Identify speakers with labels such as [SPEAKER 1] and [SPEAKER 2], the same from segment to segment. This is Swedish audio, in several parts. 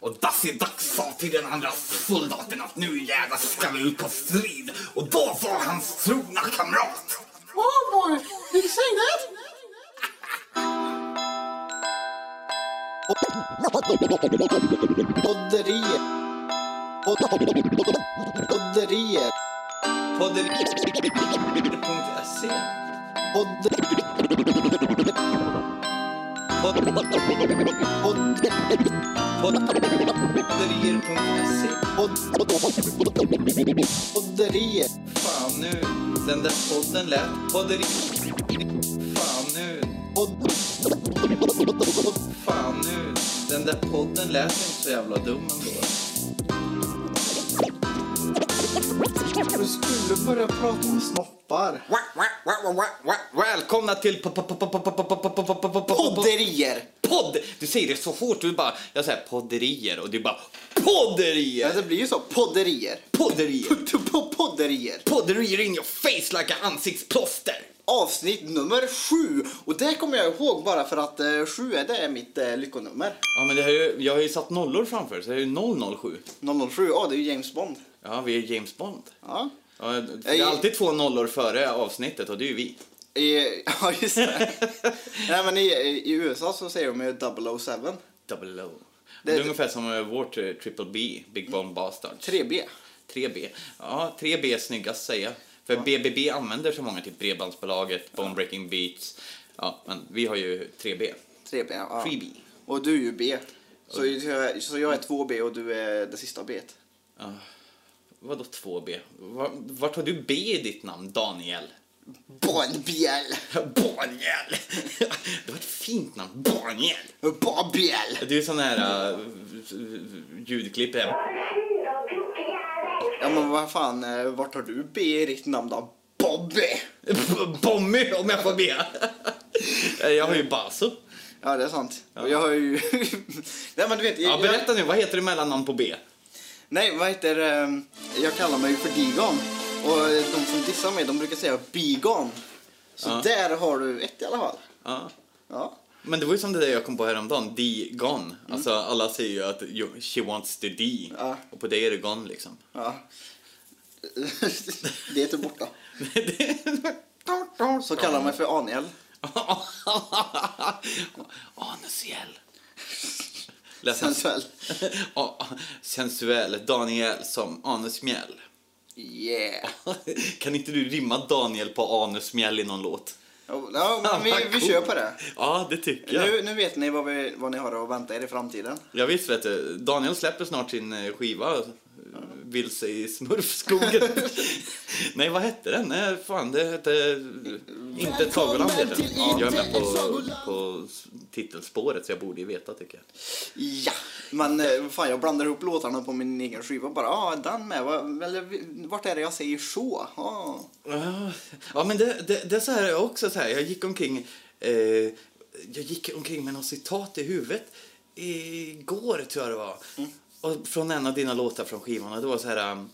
[SPEAKER 1] Och Dassidags sa till den andra soldaten att nu jävlar ska vi ut på strid. Och då var hans trogna kamrat.
[SPEAKER 2] Oh boy, did he say that?
[SPEAKER 3] Podderier. Podderier.
[SPEAKER 4] Podderier.se Podderier.se
[SPEAKER 3] Podderier.
[SPEAKER 4] Fan nu, den där podden lät podderier. Fan nu, fan nu, den där podden lät inte så jävla dum ändå.
[SPEAKER 3] Du skulle börja prata om snoppar.
[SPEAKER 4] Välkomna till po- po- po- po- po- po- po- po- po- po- po- po-
[SPEAKER 3] Podderier.
[SPEAKER 4] podd. Du säger det så fort, du bara, jag säger podderier och du bara
[SPEAKER 3] Ja,
[SPEAKER 4] podderier.
[SPEAKER 3] det blir ju så. Podderier.
[SPEAKER 4] Podderier.
[SPEAKER 3] Podderier.
[SPEAKER 4] Podderier in your face like a ansiktsplåster.
[SPEAKER 3] Avsnitt nummer sju. Och det kommer jag ihåg bara för att eh, sju är, det är mitt eh, lyckonummer.
[SPEAKER 4] Ja men det har ju, jag har ju satt nollor framför så det är ju 007.
[SPEAKER 3] 007, ja det är ju James Bond.
[SPEAKER 4] Ja vi är James Bond.
[SPEAKER 3] Ja,
[SPEAKER 4] Ja, för det är alltid två nollor före avsnittet och det är ju vi.
[SPEAKER 3] I, ja just det. Nej men i, i USA så säger de ju 007.
[SPEAKER 4] Double O. Det
[SPEAKER 3] Det- typ
[SPEAKER 4] är ungefär som eh, vårt eh, Triple B, Big Bomb Bastard.
[SPEAKER 3] 3B.
[SPEAKER 4] 3B. Ja, 3B är snyggast säga. För BBB använder så många, typ Bredbandsbolaget, Bonebreaking Beats. Ja, men vi har ju 3B.
[SPEAKER 3] 3B, ja.
[SPEAKER 4] 3B.
[SPEAKER 3] Och du är ju B. Så, jag- så jag är 2B och du är det sista B.
[SPEAKER 4] Ja. Vadå 2B? Var- Vart har du B i ditt namn, Daniel?
[SPEAKER 3] Bonbjäl!
[SPEAKER 4] Daniel! Det var ett fint namn, Daniel!
[SPEAKER 3] Bonbjäl!
[SPEAKER 4] Det är ju sån här uh, ljudklipp. här.
[SPEAKER 3] Ja men vad fan, eh, vart har du B i ditt namn då? Bobby!
[SPEAKER 4] Bommy, om jag får be. Jag har ju Baso.
[SPEAKER 3] Ja det är sant. Och jag har ju... Nej men du vet,
[SPEAKER 4] Ja,
[SPEAKER 3] jag,
[SPEAKER 4] berätta nu, vad heter du mellannamn på B?
[SPEAKER 3] Nej, vad heter det? Jag kallar mig för Digon. Och de som dissar mig, de brukar säga Bigon. Så
[SPEAKER 4] Ja.
[SPEAKER 3] där har du ett i alla fall.
[SPEAKER 4] Ja.
[SPEAKER 3] Ja.
[SPEAKER 4] Men det var ju som det där jag kom på häromdagen, D gone. Alltså alla säger ju att you, she wants to D.
[SPEAKER 3] Mm. Ja.
[SPEAKER 4] Och på dig är det gone liksom.
[SPEAKER 3] ja. Det är typ borta. Så kallar man mig för Aniel.
[SPEAKER 4] Anusiell. Läs
[SPEAKER 3] Sensuell.
[SPEAKER 4] Ja, Sensuell. Daniel som anusmjäll.
[SPEAKER 3] Yeah.
[SPEAKER 4] Kan inte du rimma Daniel på anusmjäll i någon låt?
[SPEAKER 3] Ja, men vi,
[SPEAKER 4] Vad
[SPEAKER 3] vi
[SPEAKER 4] cool.
[SPEAKER 3] kör på det.
[SPEAKER 4] Ja, det tycker jag.
[SPEAKER 3] Nu, nu vet ni vad, vi, vad ni har att vänta er i framtiden.
[SPEAKER 4] Ja, visst vet du. Daniel släpper snart sin eh, skiva eh, Vilse i smurfskogen. Nej, vad hette den? Nej, fan, det hette... eh, Inte Sagoland heter den. Ja, jag är med på, på s- titelspåret så jag borde ju veta tycker jag.
[SPEAKER 3] Ja, men eh, fan jag blandar ihop låtarna på min egen skiva bara. Ja, ah, den med. Vad- Eller, vi- vart är det jag säger så? Ah.
[SPEAKER 4] Ja, Ja, men det, det, det är så här jag också. Så här, jag gick omkring eh, Jag gick omkring med något citat i huvudet igår, tror jag det var.
[SPEAKER 3] Mm.
[SPEAKER 4] Och från en av dina låtar från skivan. Och det var så här... um,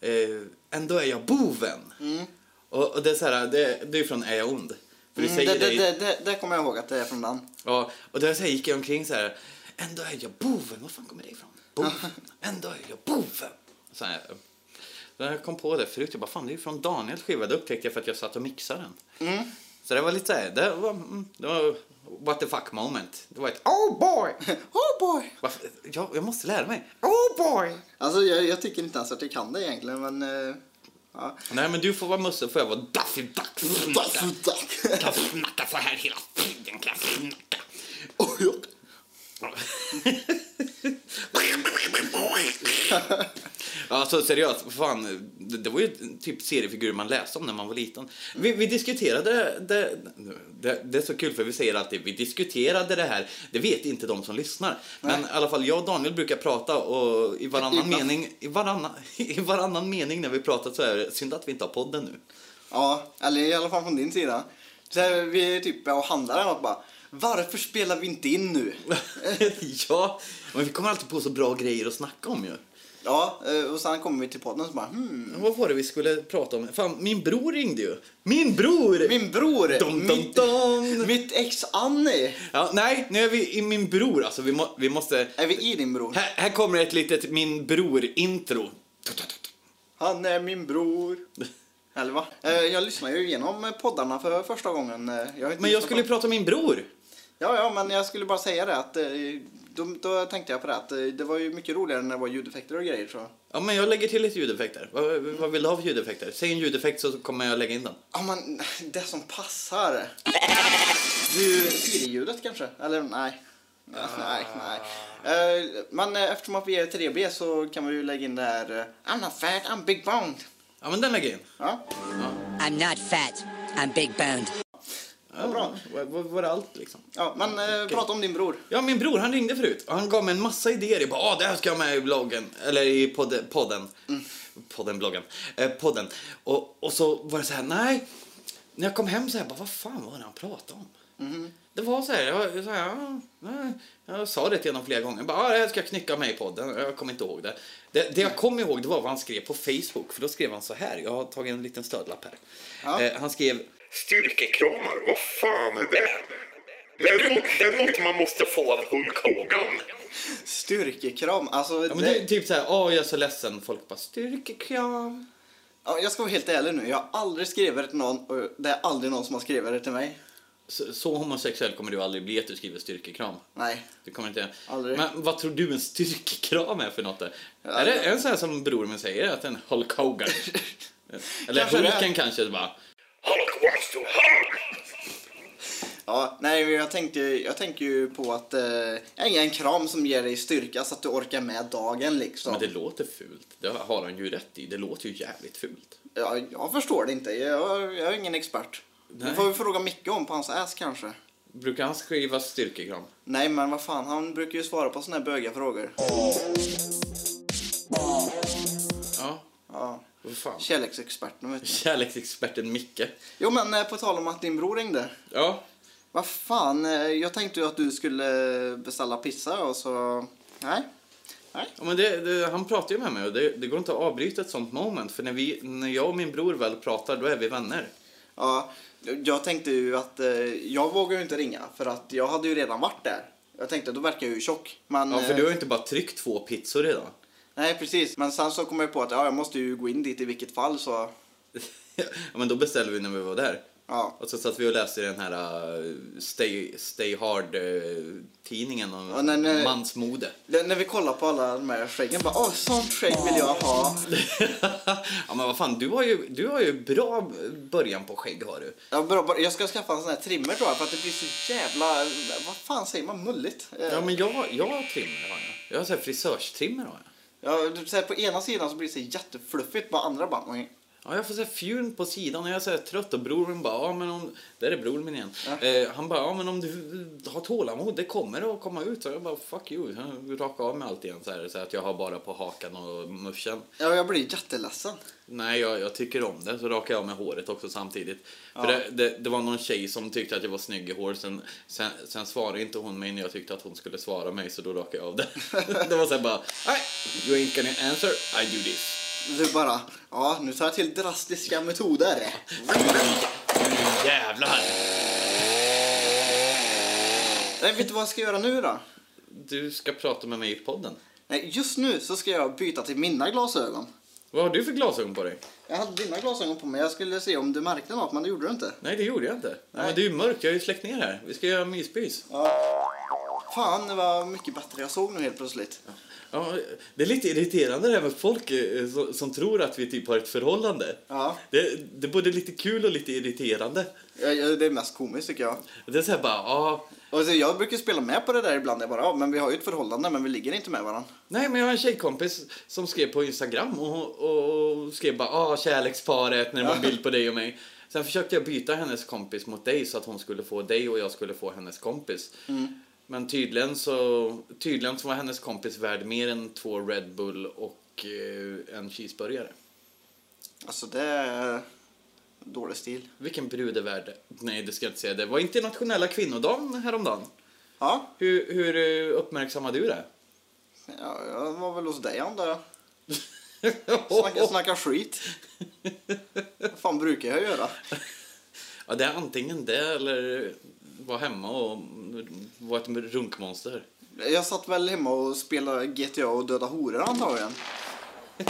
[SPEAKER 4] Eh, ändå är jag boven.
[SPEAKER 3] Mm.
[SPEAKER 4] Och, och det är så här, det, det är från Är jag ond? För du
[SPEAKER 3] Mm,
[SPEAKER 4] säger
[SPEAKER 3] det, det,
[SPEAKER 4] i-
[SPEAKER 3] det, det, det kommer jag ihåg att det är från den.
[SPEAKER 4] Ja, och då så här gick jag omkring så här. Ändå är jag boven. Var fan kommer det ifrån? Boven. Ändå är jag boven. Så här. Så jag kom på det förut. Jag bara, fan det är ju från Daniels skiva. Det upptäckte jag för att jag satt och mixade den.
[SPEAKER 3] Mm.
[SPEAKER 4] Så det var lite så här. Det var, mm, det var what the fuck moment. Det var ett oh boy.
[SPEAKER 3] Oh boy!
[SPEAKER 4] Varför- Jag, jag måste lära mig. Oh boy.
[SPEAKER 3] Alltså jag, jag tycker inte ens att jag kan det egentligen men... eh, ja.
[SPEAKER 4] Nej men du får vara Musse får jag vara Daffy Duck. Snacka.
[SPEAKER 3] Mm.
[SPEAKER 4] Kan snacka så här hela tiden. Kan snacka.
[SPEAKER 3] Och jag-
[SPEAKER 4] Alltså seriöst, fan, det, det var ju typ seriefigurer man läste om när man var liten. Vi, vi diskuterade det, det, det är så kul för vi säger alltid vi diskuterade det här, det vet inte de som lyssnar. Men i alla fall jag och Daniel brukar prata och i varannan
[SPEAKER 3] Ibland.
[SPEAKER 4] mening, i varannan, i varannan mening när vi pratar så är det synd att vi inte har podden nu.
[SPEAKER 3] ja, eller i alla fall från din sida. Så här, vi är typ och handlar eller något bara. Varför spelar vi inte in nu?
[SPEAKER 4] ja, men vi kommer alltid på så bra grejer att snacka om ju.
[SPEAKER 3] Ja, eh, och sen kommer vi till podden och så bara hmm.
[SPEAKER 4] Vad var det vi skulle prata om? Fan, min bror ringde ju. Min bror!
[SPEAKER 3] Min bror!
[SPEAKER 4] Dom, dom,
[SPEAKER 3] mitt,
[SPEAKER 4] dom.
[SPEAKER 3] mitt ex Annie!
[SPEAKER 4] Ja, nej, nu är vi i min bror. Alltså, vi, må, vi måste...
[SPEAKER 3] Är vi i din bror?
[SPEAKER 4] Här, här kommer ett litet min bror-intro.
[SPEAKER 3] Han är min bror. Eller va? Eh, Jag lyssnar ju igenom poddarna för första gången. eh, Jag har inte
[SPEAKER 4] Men jag
[SPEAKER 3] lyssnat
[SPEAKER 4] skulle
[SPEAKER 3] på-
[SPEAKER 4] prata om min bror.
[SPEAKER 3] Ja, ja, men jag skulle bara säga det att eh, då, då tänkte jag på det att eh, det var ju mycket roligare när det var ljudeffekter och grejer så.
[SPEAKER 4] Ja, men jag lägger till ett ljudeffekt där. Vad, vad vill du ha för ljudeffekter? Säg en ljudeffekt så kommer jag lägga in den.
[SPEAKER 3] Ja, men det som passar. Du, Siri-ljudet kanske? Eller nej. Nej, nej. Eh, Men eh, eftersom att vi är 3B så kan vi ju lägga in det här eh, I'm not fat, I'm big boned.
[SPEAKER 4] Ja, men den lägger jag in.
[SPEAKER 3] Ja,
[SPEAKER 5] I'm not fat. I'm big boned.
[SPEAKER 4] Ja,
[SPEAKER 3] bra.
[SPEAKER 4] Vad- vad- Var det allt liksom?
[SPEAKER 3] ja men eh, prata om din bror.
[SPEAKER 4] Ja, min bror han ringde förut och han gav mig en massa idéer. Jag bara, ah, det här ska jag med i bloggen. Eller i podden. Podden, podden bloggen. Eh, podden. Och, och så var det så här, nej. När jag kom hem så här, bara, vad fan var det han pratade om? Det var så här, jag, var så här ja, nej. jag sa det till honom flera gånger. Jag Bara, ah, det här ska jag knycka med i podden. Jag kommer inte ihåg det. det. Det jag kom ihåg det var vad han skrev på Facebook. För då skrev han så här, jag har tagit en liten stödlapp här.
[SPEAKER 3] Ja.
[SPEAKER 4] Eh, han skrev,
[SPEAKER 6] Styrkekramar, vad fan är det? Det är något, det är något man måste få av Hulk Hogan.
[SPEAKER 3] Styrkekram, alltså
[SPEAKER 4] ja, men det, är
[SPEAKER 3] det,
[SPEAKER 4] typ så här, ah, jag är så ledsen. Folk bara, styrkekram.
[SPEAKER 3] ja, jag ska vara helt ärlig nu. Jag har aldrig skrivit det till någon och det är aldrig någon som har skrivit det till mig.
[SPEAKER 4] Så, så homosexuell kommer du aldrig bli att du skriver styrkekram.
[SPEAKER 3] Nej.
[SPEAKER 4] Du kommer inte...
[SPEAKER 3] Aldrig.
[SPEAKER 4] Men vad tror du en styrkekram är för något? då? Är det en sån här som bror min säger, att en Hulk Hogan? Eller
[SPEAKER 3] Kanske det.
[SPEAKER 4] Hulken kanske bara.
[SPEAKER 6] Hulk wants to Hulk!
[SPEAKER 3] Ja, nej, men jag tänkte, jag tänker ju på att eh, en, en kram som ger dig styrka så att du orkar med dagen liksom.
[SPEAKER 4] Men det låter fult. Det har han ju rätt i. Det låter ju jävligt fult.
[SPEAKER 3] Ja, jag förstår det inte. Jag, jag är ingen expert.
[SPEAKER 4] Nej.
[SPEAKER 3] Det får vi fråga Micke om på hans ass kanske.
[SPEAKER 4] Brukar han skriva styrkekram?
[SPEAKER 3] Nej, men vad fan, han brukar ju svara på såna här böga frågor.
[SPEAKER 4] Ja.
[SPEAKER 3] Ja,
[SPEAKER 4] Vad fan.
[SPEAKER 3] kärleksexperten vet du.
[SPEAKER 4] Kärleksexperten Micke.
[SPEAKER 3] Jo, men eh, på tal om att din bror ringde.
[SPEAKER 4] Ja.
[SPEAKER 3] Vad fan, eh, jag tänkte ju att du skulle beställa pizza och så... Nej. Nej.
[SPEAKER 4] Ja, men det, det, han pratar ju med mig och det, det går inte att avbryta ett sånt moment. För när, vi, när jag och min bror väl pratar, då är vi vänner.
[SPEAKER 3] Ja, jag tänkte ju att eh, jag vågar ju inte ringa för att jag hade ju redan varit där. Jag tänkte då verkar jag ju tjock. Men,
[SPEAKER 4] Ja, för
[SPEAKER 3] eh,
[SPEAKER 4] du har ju inte bara tryckt två pizzor redan.
[SPEAKER 3] Nej, precis. Men sen så kom jag på att ja, jag måste ju gå in dit i vilket fall så...
[SPEAKER 4] ja, men då beställde vi när vi var där.
[SPEAKER 3] Ja.
[SPEAKER 4] Och så satt vi och läste den här eh, Stay, Stay Hard-tidningen om
[SPEAKER 3] Ja, nej, nej.
[SPEAKER 4] mansmode.
[SPEAKER 3] Det- När vi kollar på alla de här skäggen bara åh, sånt skägg vill jag ha.
[SPEAKER 4] ja, men vad fan, du har ju, du har ju bra början på skägg har du.
[SPEAKER 3] Jag, bara, bara, jag ska skaffa en sån här trimmer tror jag för att det blir så jävla... Vad fan säger man? Mulligt? Eh,
[SPEAKER 4] Ja, men jag, jag har trimmer har jag. Jag har så här frisörstrimmer har jag.
[SPEAKER 3] Ja, du- så här, på ena sidan så blir det så jättefluffigt, bara andra bara... "Oj."
[SPEAKER 4] Ja, jag får säga fjun på sidan och jag är så här trött och bror min bara, ja men om... Där är bror min igen. Eh, han bara, ja men om du har tålamod, det kommer att komma ut. Så jag bara, fuck you. Jag rakar av mig allt igen så här, så att jag har bara på hakan och muschen.
[SPEAKER 3] Ja, jag blir jätteledsen.
[SPEAKER 4] Nej, jag, jag tycker om det. Så rakar jag av mig håret också samtidigt. För det, det, det var någon tjej som tyckte att jag var snygg i hår. Sen, sen, sen svarade inte hon mig när jag tyckte att hon skulle svara mig, så då rakade jag av det. det var så här bara, nej, you ain't gonna answer, I do this.
[SPEAKER 3] Du bara, ja nu tar jag till drastiska metoder.
[SPEAKER 4] Jävlar!
[SPEAKER 3] Nej, vet du vad jag ska göra nu då?
[SPEAKER 4] Du ska prata med mig i podden.
[SPEAKER 3] Nej, just nu så ska jag byta till mina glasögon.
[SPEAKER 4] Vad har du för glasögon på dig?
[SPEAKER 3] Jag hade dina glasögon på mig, jag skulle se om du märkte något men det gjorde du inte.
[SPEAKER 4] Nej, det gjorde jag inte. Nej. men det är ju mörkt, jag har ju släckt ner här. Vi ska göra mysbys. Ja.
[SPEAKER 3] Fan vad mycket bättre jag såg nu helt plötsligt.
[SPEAKER 4] det är lite irriterande det här med folk eh, som, som tror att vi typ har ett förhållande.
[SPEAKER 3] Ja.
[SPEAKER 4] Det, det är både lite kul och lite irriterande.
[SPEAKER 3] Jag, jag, det är mest komiskt tycker jag.
[SPEAKER 4] Det är såhär bara, ja,
[SPEAKER 3] Och så, jag brukar spela med på det där ibland, jag bara, ja men vi har ju ett förhållande men vi ligger inte med varandra.
[SPEAKER 4] nej men jag har en tjejkompis som skrev på Instagram och, och, och skrev bara, ah kärleksparet när det var en bild på dig och mig. Sen försökte jag byta hennes kompis mot dig så att hon skulle få dig och jag skulle få hennes kompis. Men tydligen så, tydligen så var hennes kompis värd mer än två Red Bull och eh, en cheeseburgare.
[SPEAKER 3] Alltså det är dålig stil.
[SPEAKER 4] Vilken brud är värd? Nej, det ska jag inte säga. Det var internationella kvinnodagen häromdagen.
[SPEAKER 3] Ja,
[SPEAKER 4] Hur, hur eh, uppmärksammade du det?
[SPEAKER 3] ja jag var väl hos dig antar jag. Snacka, snacka skit. Vad fan brukar jag göra?
[SPEAKER 4] Ja, det är antingen det eller vara hemma och vara ett runkmonster.
[SPEAKER 3] Jag satt väl hemma och spelade GTA och döda horor antagligen.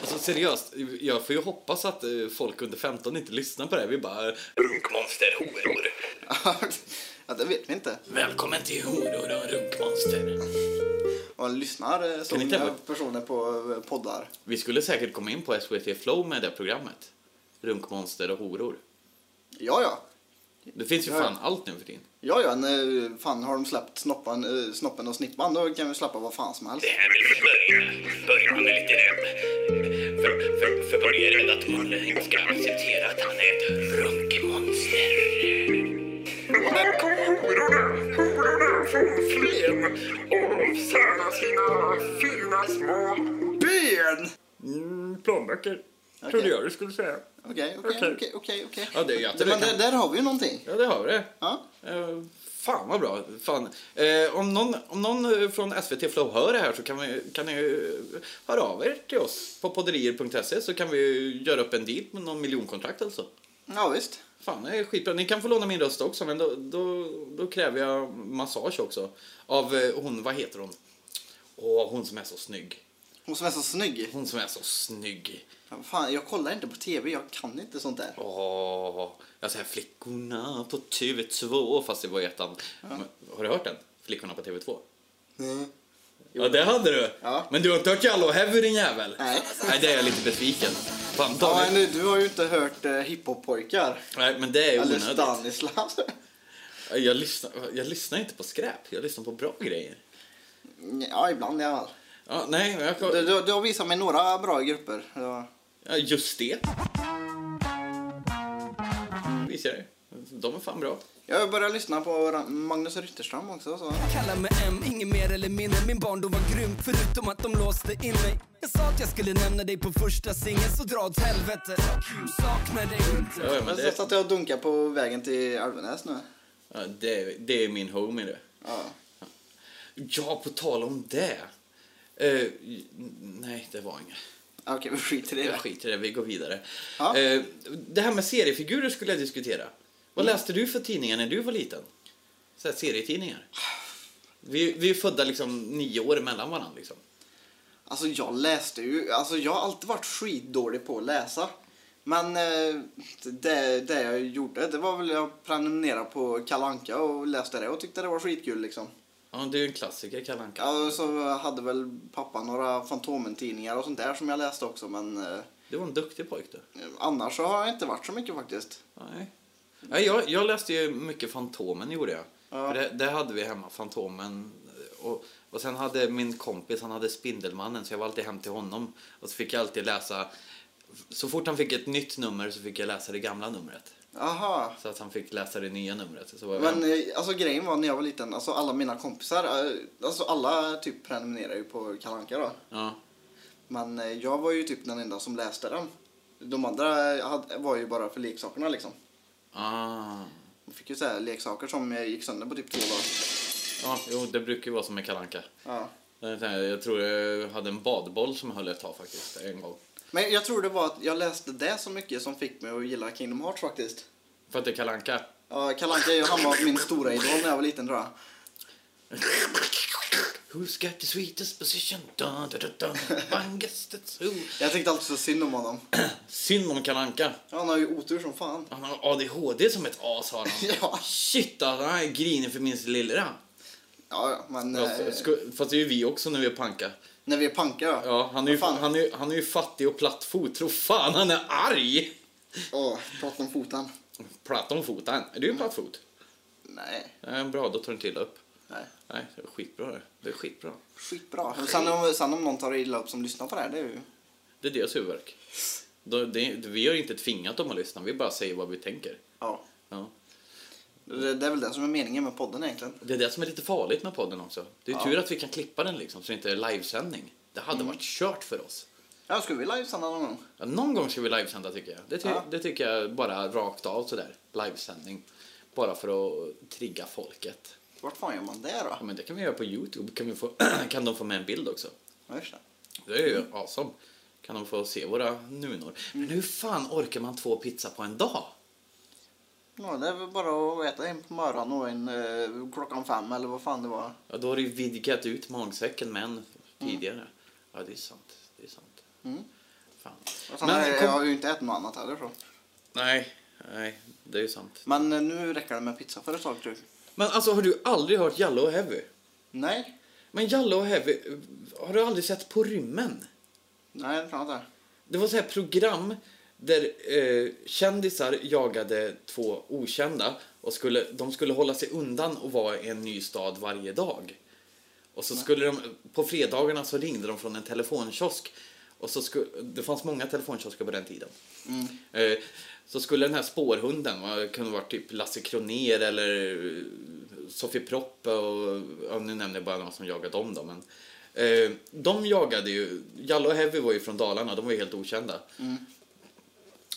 [SPEAKER 4] Alltså seriöst, jag får ju hoppas att eh, folk under 15 inte lyssnar på det här. Vi bara...
[SPEAKER 6] Runkmonster, horor.
[SPEAKER 3] ja, det vet vi inte.
[SPEAKER 4] Välkommen till Horor och runkmonster.
[SPEAKER 3] Man lyssnar eh,
[SPEAKER 4] Kan
[SPEAKER 3] som
[SPEAKER 4] inte jag-
[SPEAKER 3] personer på eh, poddar.
[SPEAKER 4] Vi skulle säkert komma in på SVT Flow med det programmet. Runkmonster och horor.
[SPEAKER 3] Ja, ja.
[SPEAKER 4] Det finns ju
[SPEAKER 3] Ja.
[SPEAKER 4] fan allt nu för din.
[SPEAKER 3] Ja, ja. Nej, fan, har de släppt snoppan, eh, snoppen och snippan då kan vi släppa vad fan som helst.
[SPEAKER 6] Det här med början, början är lite hem. För, för, för man är rädd att man inte ska acceptera att han är ett runkmonster. Här kommer hororna, hororna från Flen och särar sina fina små ben.
[SPEAKER 4] Mm, planböcker.
[SPEAKER 3] Trodde
[SPEAKER 4] jag du skulle säga.
[SPEAKER 3] Okej,
[SPEAKER 4] Okej.
[SPEAKER 3] okej, okej, okej, okej.
[SPEAKER 4] Ja, det är ju att det
[SPEAKER 3] Men
[SPEAKER 4] kan-
[SPEAKER 3] där, där har vi ju någonting.
[SPEAKER 4] Ja, det har vi det.
[SPEAKER 3] Ja.
[SPEAKER 4] Eh, fan vad bra. Fan. Eh, om, någon, om någon eh, från SVT Flow hör det här så kan, vi, kan ni eh, höra av er till oss på podderier.se E så kan vi göra upp en deal med någon miljonkontrakt alltså.
[SPEAKER 3] Ja, visst.
[SPEAKER 4] Fan, det är skitbra. Ni kan få låna min röst också, men då, då, då kräver jag massage också. Av eh, hon, vad heter hon? Åh, hon som är så snygg.
[SPEAKER 3] Hon som är så snygg.
[SPEAKER 4] Hon som är så snygg.
[SPEAKER 3] Fan, jag kollar inte på tv. Jag kan inte sånt där.
[SPEAKER 4] Åh, jag säger flickorna på TV2, fast det var i ettan. Men, Har du hört den? Flickorna på TV2? Ja, det hade du.
[SPEAKER 3] Ja.
[SPEAKER 4] Men du har inte hört Jallow Heavy din jävel?
[SPEAKER 3] Nej.
[SPEAKER 4] Nej, det är jag lite besviken. Fan,
[SPEAKER 3] Ja,
[SPEAKER 4] Daniel.
[SPEAKER 3] men du har ju inte hört eh, hiphop-pojkar.
[SPEAKER 4] Nej, men det är
[SPEAKER 3] Eller
[SPEAKER 4] onödigt.
[SPEAKER 3] Stanislav.
[SPEAKER 4] Jag lyssnar, jag lyssnar inte på skräp, jag lyssnar på bra grejer.
[SPEAKER 3] Ja, ibland i alla fall.
[SPEAKER 4] Ja, nej, men jag
[SPEAKER 3] Du, du, du har visat mig några bra grupper. Ja.
[SPEAKER 4] Ja, just det. Visst är det. De är fan bra.
[SPEAKER 3] Jag börjar lyssna på Ra- Magnus Rytterström också. Så.
[SPEAKER 7] Kalla mig M, inget mer eller mindre Min barndom var grym, förutom att de låste in mig Jag sa att jag skulle nämna dig på första singeln, så dra åt helvete Saknar dig inte
[SPEAKER 4] Ja, men
[SPEAKER 3] Jag
[SPEAKER 4] det,
[SPEAKER 3] satt jag och dunkade på vägen till Alvenäs nu.
[SPEAKER 4] ja, det, det är min homie det.
[SPEAKER 3] Ja.
[SPEAKER 4] Ja, på tal om det. Eh, nej, det var inget.
[SPEAKER 3] Okej, vi skiter i
[SPEAKER 4] Jag
[SPEAKER 3] det.
[SPEAKER 4] skiter i det, vi går vidare.
[SPEAKER 3] Ja.
[SPEAKER 4] Eh, det här med seriefigurer skulle jag diskutera. Vad läste du för tidningar när du var liten? Så här, serietidningar. Vi, vi är födda liksom nio år mellan varandra. Liksom.
[SPEAKER 3] Alltså jag läste ju, alltså jag har alltid varit skitdålig på att läsa. Men eh, det, det jag gjorde, det var väl jag prenumererade på Kalle Anka och läste det och tyckte det var skitkul liksom.
[SPEAKER 4] Ja, det är ju en klassiker, Kalle Anka.
[SPEAKER 3] Ja, och så hade väl pappa några Fantomen-tidningar och sånt där som jag läste också men eh,
[SPEAKER 4] Du var en duktig pojk du.
[SPEAKER 3] annars så har jag inte varit så mycket faktiskt.
[SPEAKER 4] Nej. Nej, jag, jag läste ju mycket Fantomen, gjorde jag.
[SPEAKER 3] Ja.
[SPEAKER 4] För det, det hade vi hemma, Fantomen. Och, och sen hade min kompis, han hade Spindelmannen, så jag var alltid hem till honom. Och så fick jag alltid läsa, så fort han fick ett nytt nummer så fick jag läsa det gamla numret.
[SPEAKER 3] Aha.
[SPEAKER 4] Så att han fick läsa det nya numret. Så var jag
[SPEAKER 3] Men eh, alltså grejen var när jag var liten, alltså alla mina kompisar, eh, alltså alla typ prenumererar ju på Kalle Anka då.
[SPEAKER 4] ja.
[SPEAKER 3] Men eh, jag var ju typ den enda som läste den. De andra eh, hade- var ju bara för leksakerna liksom.
[SPEAKER 4] Ah.
[SPEAKER 3] Man fick ju så här leksaker som eh, gick sönder på typ två dagar.
[SPEAKER 4] ja, jo, det brukar ju vara som med Kalle Anka.
[SPEAKER 3] Ja.
[SPEAKER 4] Jag tror jag hade en badboll som höll ett tag faktiskt, en gång.
[SPEAKER 3] Men jag tror det var att jag läste det så mycket som fick mig att gilla Kingdom Hearts faktiskt.
[SPEAKER 4] För att det är Kalle Anka.
[SPEAKER 3] Ja, Kalle Anka, han var min stora idol när jag var liten tror jag.
[SPEAKER 4] Who's got the sweetest position? Dun, dun, dun, dun. One guess that's who.
[SPEAKER 3] Jag tyckte alltid så synd om honom.
[SPEAKER 4] Synd om Kalle Anka.
[SPEAKER 3] Ja, Han har ju otur som fan.
[SPEAKER 4] Han har ADHD som ett as har han.
[SPEAKER 3] Ja.
[SPEAKER 4] Shit alltså, han är grinig för minsta lillra.
[SPEAKER 3] Ja, ja, men
[SPEAKER 4] Ja,
[SPEAKER 3] eh,
[SPEAKER 4] sku- Fast det är ju vi också när vi är panka.
[SPEAKER 3] när vi är panka
[SPEAKER 4] Ja, han är ju,
[SPEAKER 3] Vad fan?
[SPEAKER 4] han är, ju- han är ju fattig och plattfot. Tro fan han är arg!
[SPEAKER 3] Åh, prata om foten.
[SPEAKER 4] Platt om foten. Är du plattfot?
[SPEAKER 3] Nej,
[SPEAKER 4] Nej, bra, då tar du inte illa upp.
[SPEAKER 3] nej.
[SPEAKER 4] Nej, det är skitbra det. Det är skitbra.
[SPEAKER 3] Skitbra. Och Sen om, sen om någon tar illa upp som lyssnar på det här, det är ju...
[SPEAKER 4] Det är deras huvudvärk. Då- det- Vi har inte tvingat dem att lyssna, vi bara säger vad vi tänker.
[SPEAKER 3] Ja.
[SPEAKER 4] Ja.
[SPEAKER 3] Det, det är väl det som är meningen med podden egentligen.
[SPEAKER 4] Det är det som är lite farligt med podden också. Det är tur att vi kan klippa den liksom, så det inte är livesändning. Det hade varit kört för oss.
[SPEAKER 3] Ja, ska vi livesända någon gång?
[SPEAKER 4] Ja, någon gång ska vi livesända tycker jag. Det, ty-
[SPEAKER 3] Ja.
[SPEAKER 4] det tycker jag bara rakt av sådär. Livesändning. Bara för att trigga folket.
[SPEAKER 3] Vart fan gör man det
[SPEAKER 4] Ja,
[SPEAKER 3] då?
[SPEAKER 4] men det kan vi göra på Youtube. Kan, vi få, kan de få med en bild också?
[SPEAKER 3] Ja, just det.
[SPEAKER 4] Det är
[SPEAKER 3] Mm.
[SPEAKER 4] ju awesome. Kan de få se våra nunor. Men hur fan orkar man två pizza på en dag?
[SPEAKER 3] Ja, det är väl bara att äta en på morgonen och en eh, klockan fem eller vad fan det var.
[SPEAKER 4] Ja, då har du ju vidgat ut magsäcken med en tidigare. Ja, det är sant. Det är sant.
[SPEAKER 3] Mm.
[SPEAKER 4] Fan.
[SPEAKER 3] Och sen
[SPEAKER 4] Men
[SPEAKER 3] har jag-
[SPEAKER 4] kom-
[SPEAKER 3] jag har ju inte ätit något annat heller. Så.
[SPEAKER 4] Nej, nej, det är ju sant.
[SPEAKER 3] Men eh, nu räcker det med pizza för ett tag tror jag.
[SPEAKER 4] Men alltså, har du aldrig hört Jalle och Heavy?
[SPEAKER 3] Nej,
[SPEAKER 4] Men Jalle och Heavy, har du aldrig sett På rymmen?
[SPEAKER 3] nej det tror jag inte.
[SPEAKER 4] Det var så här program där eh, kändisar jagade två okända och skulle, de skulle hålla sig undan och vara i en ny stad varje dag. Och så skulle de, på fredagarna så ringde de från en telefonkiosk. Och så skulle, det fanns många telefonkiosker på den tiden. Eh, så skulle den här spårhunden, va, det kunde vara typ Lasse Kroner eller eh, Sofie Proppe och, ja, nu nämner jag bara någon som jagade dem då, men. Eh, de jagade ju, Jalle och Heavy var ju från Dalarna, de var ju helt okända.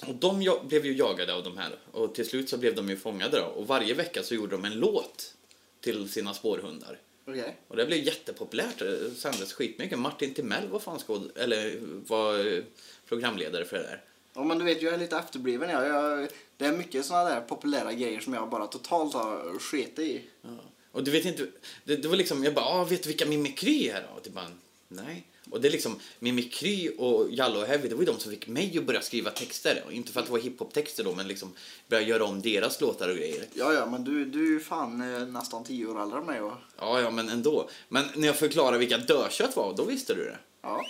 [SPEAKER 4] Och de ja- blev ju jagade av de här och till slut så blev de ju fångade då. Och varje vecka så gjorde de en låt till sina spårhundar.
[SPEAKER 3] Okej.
[SPEAKER 4] Och det blev jättepopulärt. Det sändes skitmycket. Martin Timell var, fan skåd, eller, var eh, programledare för det där.
[SPEAKER 3] Ja, men du vet, jag är lite efterbliven. Jag, jag, det är mycket sådana där populära grejer som jag bara totalt har sketit i.
[SPEAKER 4] Ja. Och du vet inte, det, det var liksom, jag bara, ah, vet du vilka Mimikry är då? Och det bara, nej. Och det är liksom, Mimikry och Jalle och Heavy, det var ju de som fick mig att börja skriva texter. Och inte för att det var hiphop-texter då, men liksom börja göra om deras låtar och grejer.
[SPEAKER 3] Ja, ja, men du, du är ju fan eh, nästan tio år äldre än mig. Och,
[SPEAKER 4] Ja, ja, men ändå. Men när jag förklarade vilka dödkött var, då visste du det.
[SPEAKER 3] ja.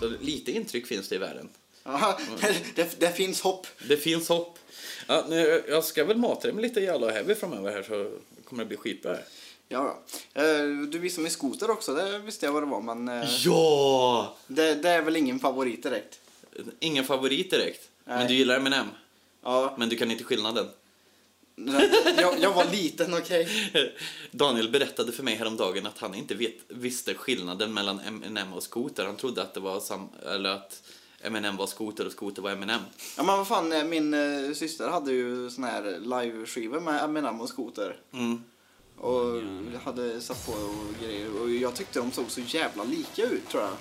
[SPEAKER 4] Så lite intryck finns det i världen.
[SPEAKER 3] Ja, det, det finns hopp.
[SPEAKER 4] Det finns hopp. Ja, nu, jag ska väl mata dig med lite Jalla och Heavy framöver här så kommer det bli skitbra. här.
[SPEAKER 3] Ja, ja. Eh, Du visade mig skoter också, det visste jag vad det var. Men eh,
[SPEAKER 4] Ja!
[SPEAKER 3] det, det är väl ingen favorit direkt.
[SPEAKER 4] Ingen favorit direkt. Men
[SPEAKER 3] Nej.
[SPEAKER 4] du gillar Eminem.
[SPEAKER 3] Ja,
[SPEAKER 4] Men du kan inte skillnaden.
[SPEAKER 3] jag, jag var liten, okej.
[SPEAKER 4] Daniel berättade för mig häromdagen att han inte vet, visste skillnaden mellan Eminem och Scooter. Han trodde att det var sam, eller att Eminem var Scooter och Scooter var Eminem.
[SPEAKER 3] Ja, men vad fan, eh, min eh, syster hade ju sån här live-skivor med Eminem och skoter.
[SPEAKER 4] Mm.
[SPEAKER 3] Och jag hade satt på och grejer och jag tyckte de såg så jävla lika ut tror jag.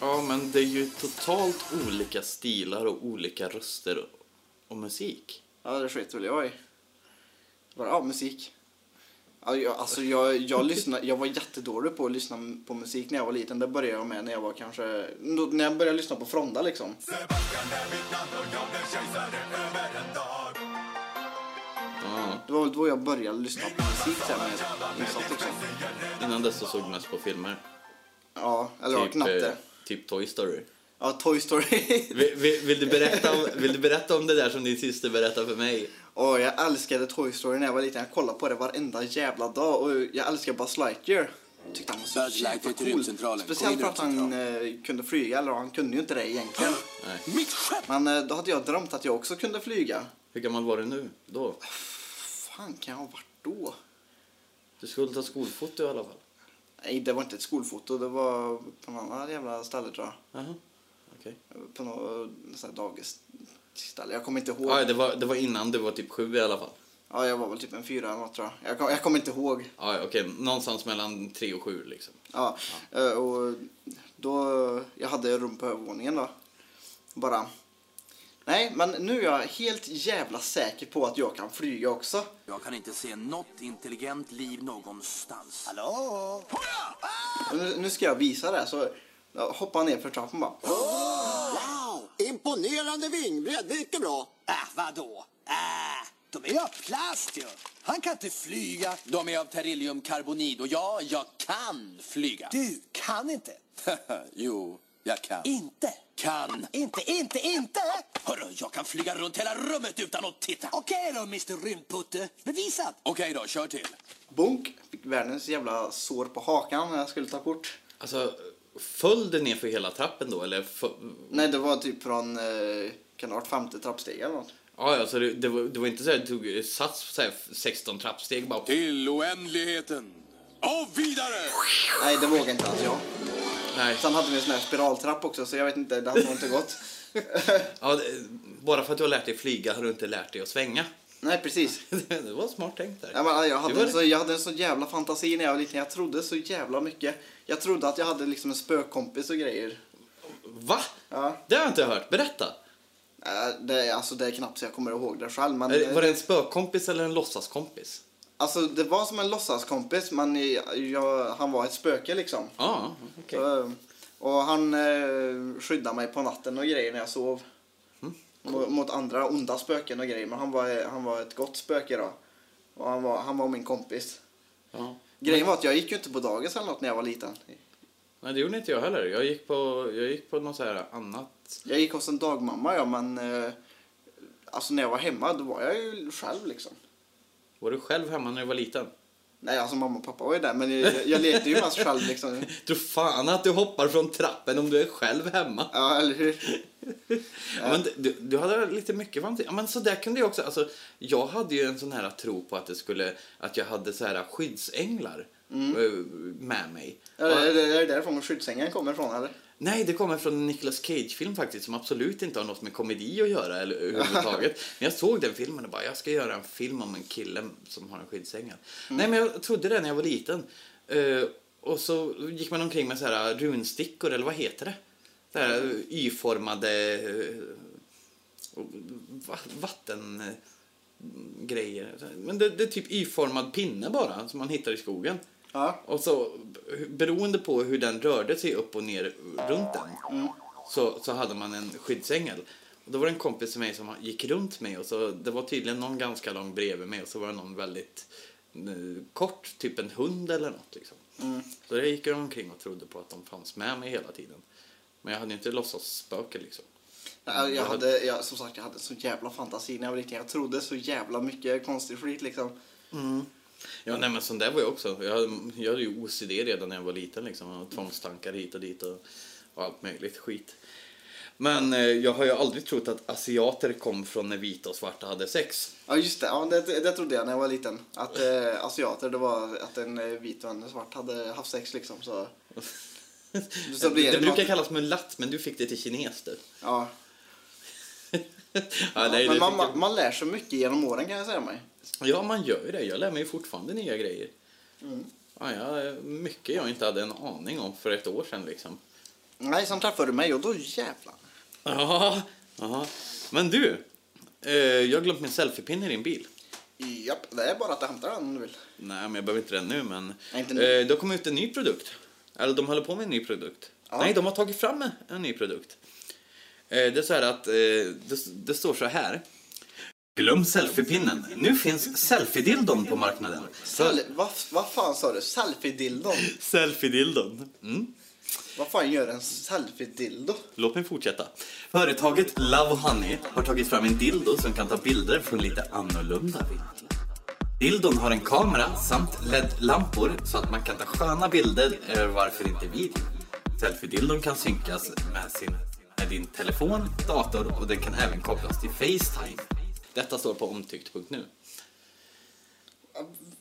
[SPEAKER 4] Ja, men det är ju totalt olika stilar och olika röster och, och musik.
[SPEAKER 3] Ja det sket väl jag i. Bara, ja musik. Ja, jag, alltså jag, jag, lyssnade, jag var jättedålig på att lyssna på musik när jag var liten. Det började jag med när jag var kanske, då- när jag började lyssna på Fronda liksom.
[SPEAKER 4] Ja,
[SPEAKER 3] Det var väl då jag började lyssna på musik sen med insatt liksom.
[SPEAKER 4] innan dess så såg jag mest på filmer.
[SPEAKER 3] Ja, eller ja, knappt
[SPEAKER 4] eh,
[SPEAKER 3] det.
[SPEAKER 4] typ Toy Story.
[SPEAKER 3] Ja, Toy Story.
[SPEAKER 4] Vill, vill, vill, du berätta om, vill du berätta om det där som din syster berättade för mig?
[SPEAKER 3] Åh, jag älskade Toy Story när jag var liten. Jag kollade på det varenda jävla dag och jag älskade Buzz Lightyear. Tyckte han var så
[SPEAKER 8] Buzz Lightyear
[SPEAKER 3] jävla
[SPEAKER 8] till
[SPEAKER 3] cool.
[SPEAKER 8] rymdcentralen. Kom in
[SPEAKER 3] Speciellt för att han eh, kunde flyga, eller han kunde ju inte det egentligen.
[SPEAKER 8] Mitt skepp!
[SPEAKER 3] Men eh, då hade jag drömt att jag också kunde flyga.
[SPEAKER 4] Hur gammal var du nu? Då?
[SPEAKER 3] fan kan jag ha varit då?
[SPEAKER 4] Du skulle ta skolfoto i alla fall.
[SPEAKER 3] Nej, det var inte ett skolfoto. Det var på någon annan jävla ställe tror jag.
[SPEAKER 4] Jaha, okej.
[SPEAKER 3] På något sånt här dagisställe. Jag kommer inte ihåg.
[SPEAKER 4] Ja, det, var, det var innan du var typ sju i alla fall.
[SPEAKER 3] Ja, jag var väl typ en fyra eller något tror jag. Jag, kom, jag kommer inte ihåg.
[SPEAKER 4] Ja, ja, okej. Någonstans mellan tre och sju liksom.
[SPEAKER 3] Ja, eh, och då, jag hade rum på övervåningen då. Bara, nej men nu är jag helt jävla säker på att jag kan flyga också.
[SPEAKER 8] Jag kan inte se något intelligent liv någonstans.
[SPEAKER 3] Och Nu, nu ska jag visa det här, så jag hoppar ner för trappan bara.
[SPEAKER 9] Wow! Imponerande vingbredd, mycket bra! Äh, vadå? Äh, de är ju av plast ju! Han kan inte flyga!
[SPEAKER 8] De är av berylliumkarbonid och ja, jag kan flyga.
[SPEAKER 9] Du kan inte!
[SPEAKER 8] jo, jag kan.
[SPEAKER 9] Inte!
[SPEAKER 8] kan.
[SPEAKER 9] Inte, inte, inte!
[SPEAKER 8] Hörru, jag kan flyga runt hela rummet utan att titta. Okej
[SPEAKER 9] Okej då, Mr Rymdputte. Bevisat!
[SPEAKER 8] då, kör till.
[SPEAKER 3] Bunk! Fick världens jävla sår på hakan när jag skulle ta kort.
[SPEAKER 4] Alltså, föll du ner för hela trappen då? Eller fö-
[SPEAKER 3] Nej, det var typ från, eh, kan det ha varit femte trappsteg eller något?
[SPEAKER 4] ja, alltså, det, det, var, det var inte så att du tog eh, sats så här, 16 trappsteg bara.
[SPEAKER 3] Typ.
[SPEAKER 8] Till oändligheten. Och vidare!
[SPEAKER 3] Nej, det vågade inte ens jag.
[SPEAKER 4] Nej.
[SPEAKER 3] Sen hade vi en sån här spiraltrapp också, så jag vet inte, det hade nog inte gått.
[SPEAKER 4] Ja, det, bara för att du har lärt dig flyga har du inte lärt dig att svänga.
[SPEAKER 3] Nej, precis.
[SPEAKER 4] det var smart tänkt där.
[SPEAKER 3] Ja, men jag, hade
[SPEAKER 4] Det var
[SPEAKER 3] en så, jag hade en så jävla fantasi när jag var liten. Jag trodde så jävla mycket. Jag trodde att jag hade liksom en spökkompis och grejer.
[SPEAKER 4] Va?
[SPEAKER 3] Ja.
[SPEAKER 4] Det har jag inte hört. Berätta.
[SPEAKER 3] Äh, Det, är- alltså, det är knappt så jag kommer ihåg det själv. Men,
[SPEAKER 4] Eh, Var det en spökkompis eller en låtsaskompis?
[SPEAKER 3] Alltså, det var som en låtsaskompis, men jag, jag, han var ett spöke liksom.
[SPEAKER 4] Ja, ah, okej.
[SPEAKER 3] Så, eh, och han eh, skyddade mig på natten och grejer när jag sov.
[SPEAKER 4] Mm.
[SPEAKER 3] Mot- Mot andra onda spöken och grejer. Men han var, eh, han var ett gott spöke då. Och han var, han var min kompis.
[SPEAKER 4] Ja.
[SPEAKER 3] Grejen var att jag gick ju inte på dagis eller något när jag var liten.
[SPEAKER 4] Nej, det gjorde inte jag heller. Jag gick på, jag gick på något så här annat.
[SPEAKER 3] Jag gick hos en dagmamma ja, men eh, alltså när jag var hemma då var jag ju själv liksom.
[SPEAKER 4] Var du själv hemma när du var liten?
[SPEAKER 3] Nej, alltså mamma och pappa var ju där men jag, jag lekte ju mest själv liksom.
[SPEAKER 4] Tror fan att du hoppar från trappen om du är själv hemma.
[SPEAKER 3] Ja, eller hur?
[SPEAKER 4] Ja, men du, du hade lite mycket fantasi. Ja, men så där kunde jag också. Alltså, jag hade ju en sån här tro på att, det skulle, att jag hade så här skyddsänglar eh, med mig.
[SPEAKER 3] Är Mm. det, är det- är det därifrån skyddsängen kommer ifrån eller?
[SPEAKER 4] Nej, det kommer från en Nicolas Cage-film faktiskt som absolut inte har något med komedi att göra eller överhuvudtaget. Men jag såg den filmen och bara, jag ska göra en film om en kille som har en skyddsängel. Nej, men jag trodde det när jag var liten. Eh, och så gick man omkring med så här runstickor, eller vad heter det? Så här eh, Y-formade eh, va- vatten... eh, grejer. Men det, det är typ Y-formad pinne bara som man hittar i skogen.
[SPEAKER 3] Ja.
[SPEAKER 4] Och så beroende på hur den rörde sig upp och ner runt den så, så hade man en skyddsängel. Och då var det en kompis till mig som gick runt mig och så det var tydligen någon ganska lång bredvid mig och så var det någon väldigt eh, kort, typ en hund eller något liksom. Så jag gick omkring och trodde på att de fanns med mig hela tiden. Men jag hade ju inte låtsasspöke liksom.
[SPEAKER 3] Ja, Jag
[SPEAKER 4] Jag hade-
[SPEAKER 3] hade, jag, som sagt, jag hade så jävla fantasi när jag var liten. Jag trodde så jävla mycket konstig skit liksom.
[SPEAKER 4] Ja, nej, men sån där var jag också. Jag hade, jag hade ju OCD redan när jag var liten. Liksom. Och tvångstankar hit och dit och, och allt möjligt skit. Men eh, jag har ju aldrig trott att asiater kom från när vita och svarta hade sex.
[SPEAKER 3] Ja just det, ja, det, det trodde jag när jag var liten. Att eh, asiater, det var att en eh, vit och en svart hade haft sex liksom. Så, så blir
[SPEAKER 4] det
[SPEAKER 3] det
[SPEAKER 4] brukar
[SPEAKER 3] något-
[SPEAKER 4] kallas mulatt, men du fick det till kines du.
[SPEAKER 3] ja.
[SPEAKER 4] ja, nej,
[SPEAKER 3] Men
[SPEAKER 4] det
[SPEAKER 3] man,
[SPEAKER 4] fick
[SPEAKER 3] man, man lär sig mycket genom åren kan jag säga mig.
[SPEAKER 4] jag- ja, man gör ju det. Jag lär mig ju fortfarande nya grejer. Mm. Ja, jag, mycket jag inte hade en aning om för ett år sedan liksom.
[SPEAKER 3] Nej, sen träffade du mig och då jävlar.
[SPEAKER 4] Ja, ja. Men du, eh, jag har glömt min selfiepinne i din bil.
[SPEAKER 3] Japp, det är bara att hämta den om du vill.
[SPEAKER 4] Nej, men jag behöver inte den nu. Men
[SPEAKER 3] Nej, inte nu.
[SPEAKER 4] Eh, det har kommit ut en ny produkt. Eller de håller på med en ny produkt. Nej, de har tagit fram en ny produkt. Eh, det är så här att eh, det, det står så här. Glöm selfiepinnen. Nu finns selfiedildon på marknaden.
[SPEAKER 3] Sel- Vad vad fan sa du? Selfie-dildon?
[SPEAKER 4] Selfiedildon. Mm.
[SPEAKER 3] Vad fan gör en selfie-dildo?
[SPEAKER 4] Låt mig fortsätta. Företaget Love Honey har tagit fram en dildo som kan ta bilder från lite annorlunda vinklar. Dildon har en kamera samt LED-lampor så att man kan ta sköna bilder, eh, varför inte video? Selfie-dildon kan synkas med, sin, med din telefon, dator och den kan även kopplas till Facetime. Detta står på omtyckt.nu.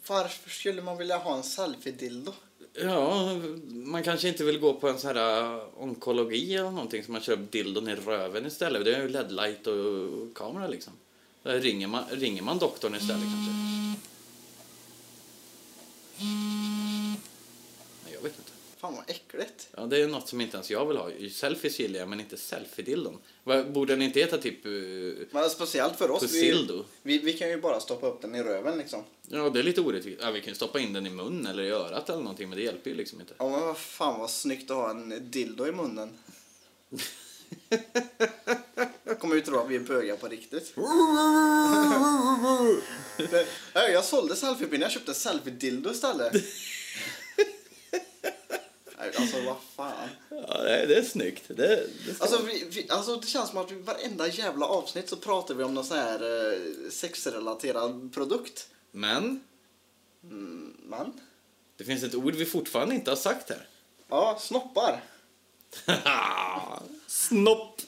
[SPEAKER 3] Varför skulle man vilja ha en selfie-dildo?
[SPEAKER 4] Ja, man kanske inte vill gå på en sån här eh, onkologi eller någonting som man kör upp dildon i röven istället. Det är ju LED-light och kamera liksom. Där Ringer man, ringer man doktorn istället kanske? Nej, jag vet inte.
[SPEAKER 3] Fan vad äckligt.
[SPEAKER 4] Ja, det är något som inte ens jag vill ha. Selfies gillar jag, men inte selfie-dildon. Vad- Borde den inte heta typ... eh,
[SPEAKER 3] Men speciellt för oss. Vi,
[SPEAKER 4] Fusildo.
[SPEAKER 3] vi, vi kan ju bara stoppa upp den i röven liksom.
[SPEAKER 4] Ja, det är lite orättvist. Ja, vi kan ju stoppa in den i munnen eller i örat eller någonting, men det hjälper ju liksom inte.
[SPEAKER 3] Ja men vad fan vad snyggt att ha en dildo i munnen. Kommer ju tro att vi är bögar på riktigt. Det- Ja, jag sålde selfiepinnar, jag köpte selfie-dildo istället. Nej, Alltså vad fan.
[SPEAKER 4] Ja, det är, det är snyggt. Det, det ska
[SPEAKER 3] Alltså, vi, vi, alltså det känns som att vi varenda jävla avsnitt så pratar vi om någon sån här eh, sexrelaterad produkt.
[SPEAKER 4] Men
[SPEAKER 3] Man?
[SPEAKER 4] Det finns ett ord vi fortfarande inte har sagt här.
[SPEAKER 3] Ja, snoppar.
[SPEAKER 4] Snopp!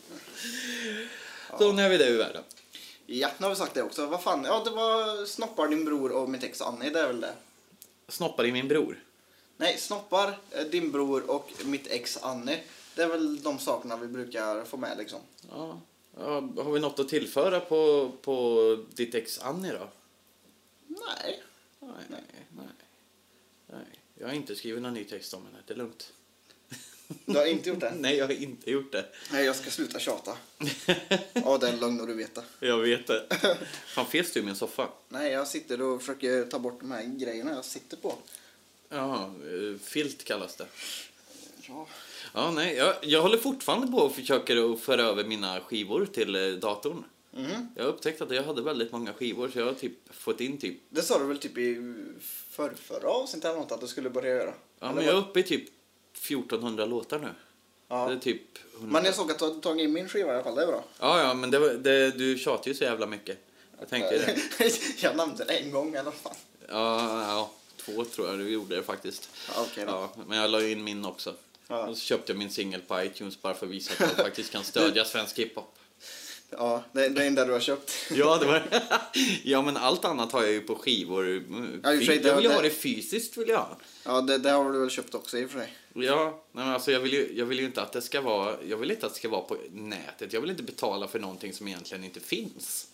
[SPEAKER 4] Så nu är vi det ur världen.
[SPEAKER 3] Ja, nu har vi sagt det också. Vad fan, ja det var snoppar din bror och mitt ex Annie, det är väl det.
[SPEAKER 4] Snoppar i min bror.
[SPEAKER 3] Nej, snoppar eh, din bror och mitt ex Annie. Det är väl de sakerna vi brukar få med liksom.
[SPEAKER 4] Ja. Ja, har vi något att tillföra på, på ditt ex Annie då?
[SPEAKER 3] Nej.
[SPEAKER 4] Nej, nej, nej. nej. Jag har inte skrivit någon ny text om henne, det är lugnt.
[SPEAKER 3] Du har inte gjort det?
[SPEAKER 4] Nej, jag har inte gjort det.
[SPEAKER 3] Nej, jag ska sluta tjata. Ja, det är en lögn och du vet det.
[SPEAKER 4] jag vet det. Fan, fes du i min soffa?
[SPEAKER 3] Nej, jag sitter och försöker ta bort de här grejerna jag sitter på.
[SPEAKER 4] Ja, eh, filt kallas det.
[SPEAKER 3] Ja.
[SPEAKER 4] Ja, nej, jag, jag håller fortfarande på och försöker att föra över mina skivor till eh, datorn.
[SPEAKER 3] Mhm.
[SPEAKER 4] Jag har upptäckt att jag hade väldigt många skivor så jag har typ fått in typ...
[SPEAKER 3] Det sa du väl typ i förr, förra avsnittet eller något att du skulle börja göra?
[SPEAKER 4] Ja, men
[SPEAKER 3] Eller vad?
[SPEAKER 4] jag är uppe i typ 1400 låtar nu.
[SPEAKER 3] Ja.
[SPEAKER 4] Det är typ 100.
[SPEAKER 3] Men jag såg att du hade tagit in min skiva i alla fall, det är bra.
[SPEAKER 4] Ja, ja, men det, var- det, du tjatar ju så jävla mycket. Jag tänkte det.
[SPEAKER 3] jag nämnde det en gång i alla fall.
[SPEAKER 4] Ja, ja, två tror jag du gjorde det faktiskt.
[SPEAKER 3] Ja, okej då.
[SPEAKER 4] ja, men jag la ju in min också.
[SPEAKER 3] Ja.
[SPEAKER 4] Och så köpte jag min singel på iTunes bara för att visa att jag faktiskt kan stödja svensk hiphop.
[SPEAKER 3] Ja, det är det enda du har köpt.
[SPEAKER 4] Ja, det var... ja, men allt annat har jag ju på skivor.
[SPEAKER 3] Ja, i och för sig, det-
[SPEAKER 4] jag vill ju
[SPEAKER 3] det-
[SPEAKER 4] ha det fysiskt. vill jag. ha.
[SPEAKER 3] Ja, det, det har du väl köpt också i och för sig.
[SPEAKER 4] Ja, nej, men alltså, jag, vill ju, jag vill ju inte att det ska vara Jag vill inte att det ska vara på nätet. Jag vill inte betala för någonting som egentligen inte finns.